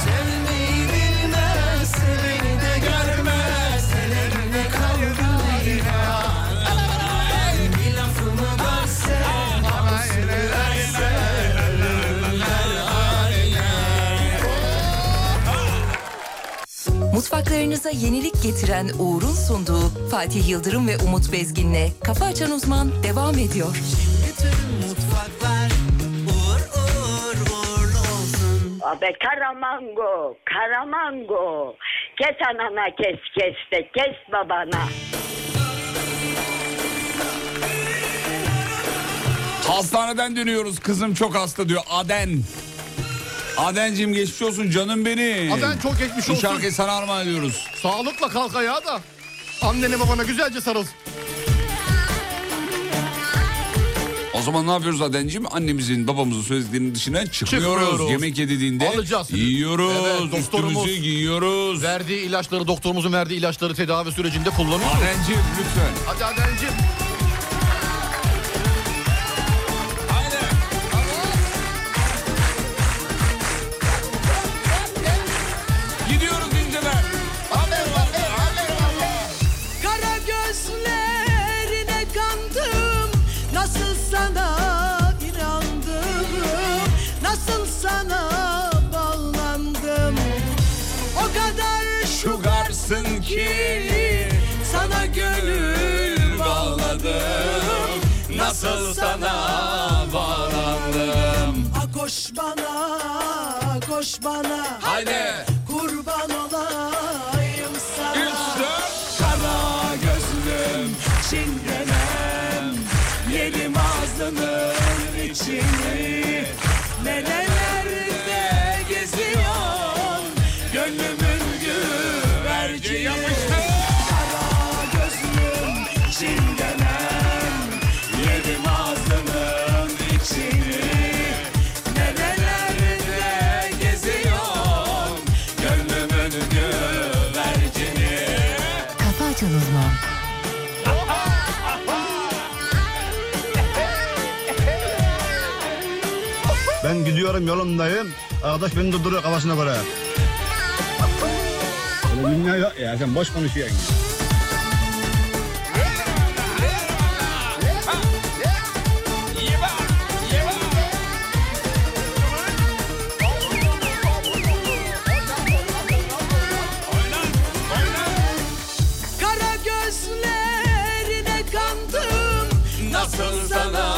Sevmeyi bilmez seveni de görmez Ellerine kaldı Mutfaklarınıza yenilik getiren Uğur'un sunduğu Fatih Yıldırım ve Umut Bezgin'le Kafa Açan Uzman devam ediyor. Abi karamango, karamango. Kes anana kes kes de kes babana. Hastaneden dönüyoruz. Kızım çok hasta diyor. Aden. Adencim geçmiş olsun canım benim. Aden çok geçmiş Bu olsun. şarkıyı sana armağan ediyoruz. Sağlıkla kalk ayağa da. Annene babana güzelce sarıl. O zaman ne yapıyoruz Adencim? Annemizin babamızın söylediklerinin dışına çıkmıyoruz. Çıkmıyoruz. Yemek yediğinde Alacağız. yiyoruz. Evet, doktorumuz- üstümüzü giyiyoruz. Verdiği ilaçları doktorumuzun verdiği ilaçları tedavi sürecinde kullanıyoruz. Adencim lütfen. Hadi Adencim. Gidiyoruz inceden. Kara gözlerine kandım Nasıl sana inandım Nasıl sana bağlandım O kadar şugarsın ki Sana gönül bağladım Nasıl sana bağlandım Koş bana, koş bana Haydi. Kurban olayım sana Üç, dört. Kara gözlüm çingenem Yerim ağzının içini Nerelerde geziyor Gönlümün güvercini Kara gözlüm çingenem Yerim ağzının içini Nerelerde geziyor Gönlümün güvercini Kafa Açan Uzman. Ben gidiyorum yolumdayım. Arkadaş beni durduruyor kafasına göre. Öyle dünya yok ya sen boş konuşuyorsun. Kara gözlerine kandım Nasıl sana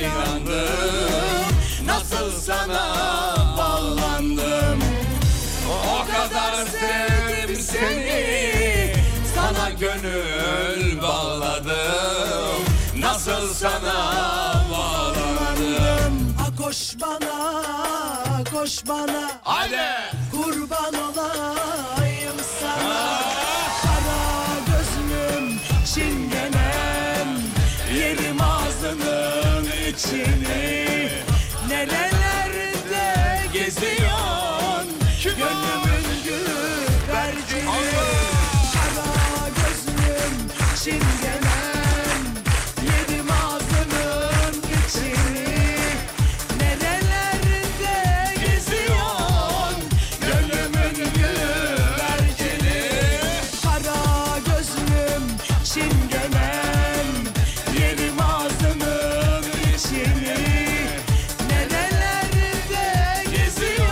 inandım Nasıl sana bağlandım O kadar sevdim seni Sana gönül bağladım Nasıl sana bağlandım Koş bana, koş bana Haydi. Kurban olayım sana Kara gözlüm çingenem Yerim ağzının içini Nerelerde geziyorsun Gönlümün güvercini Kara gözlüm çingenem Yerim ağzının içini Nerelerde geziyorsun Gönlümün güvercini Kara gözlüm çingenem Yerim ağzının içini Nerelerde geziyorsun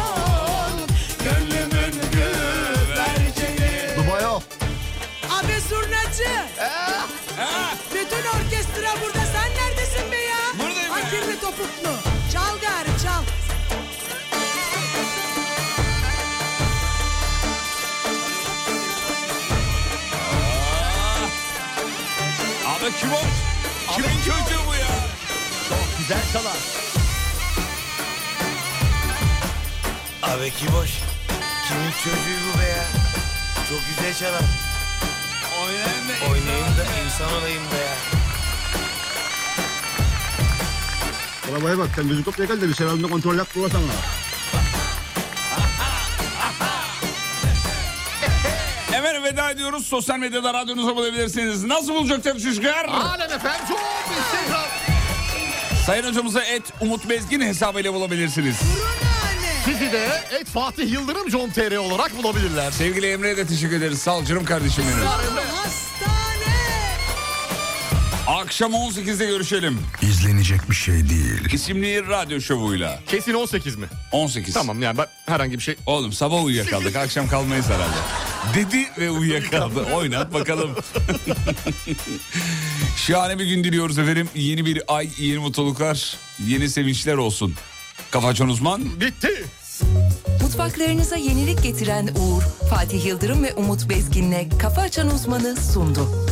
Gönlümün güvercini Dubai al. Abi zurnacı Bütün orkestra burada sen neredesin be ya? Buradayım ya. Akirli topuklu Çal gari çal Abi kim o? Kimin çocuğu bu ya? Güzel çalar. Abi ki boş. Kimin çocuğu bu be ya? Çok güzel çalar. Oynayın da Oynayayım da insan olayım be ya. Arabaya bak sen müzik kopya gel de bir sebebinde kontrol yap durursan ha. Efendim veda ediyoruz. Sosyal medyada radyonuza bulabilirsiniz. Nasıl bulacaklar çocuklar? Alem efendim çok Instagram. Sayın hocamıza et Umut Bezgin hesabıyla bulabilirsiniz. Sizi de et Fatih Yıldırım John.tr olarak bulabilirler. Sevgili Emre'ye de teşekkür ederiz. Sağ ol canım kardeşim benim. Akşam 18'de görüşelim. İzlenecek bir şey değil. İsimli radyo şovuyla. Kesin 18 mi? 18. Tamam yani ben herhangi bir şey Oğlum sabah uyuyakaldık. Akşam kalmayız herhalde. Dedi ve uyuyakaldı. Oynat bakalım. [LAUGHS] Şahane bir gün diliyoruz efendim. Yeni bir ay, yeni mutluluklar, yeni sevinçler olsun. Kafa Açan Uzman. Bitti. Mutfaklarınıza yenilik getiren Uğur, Fatih Yıldırım ve Umut Bezgin'le Kafa Açan Uzman'ı sundu.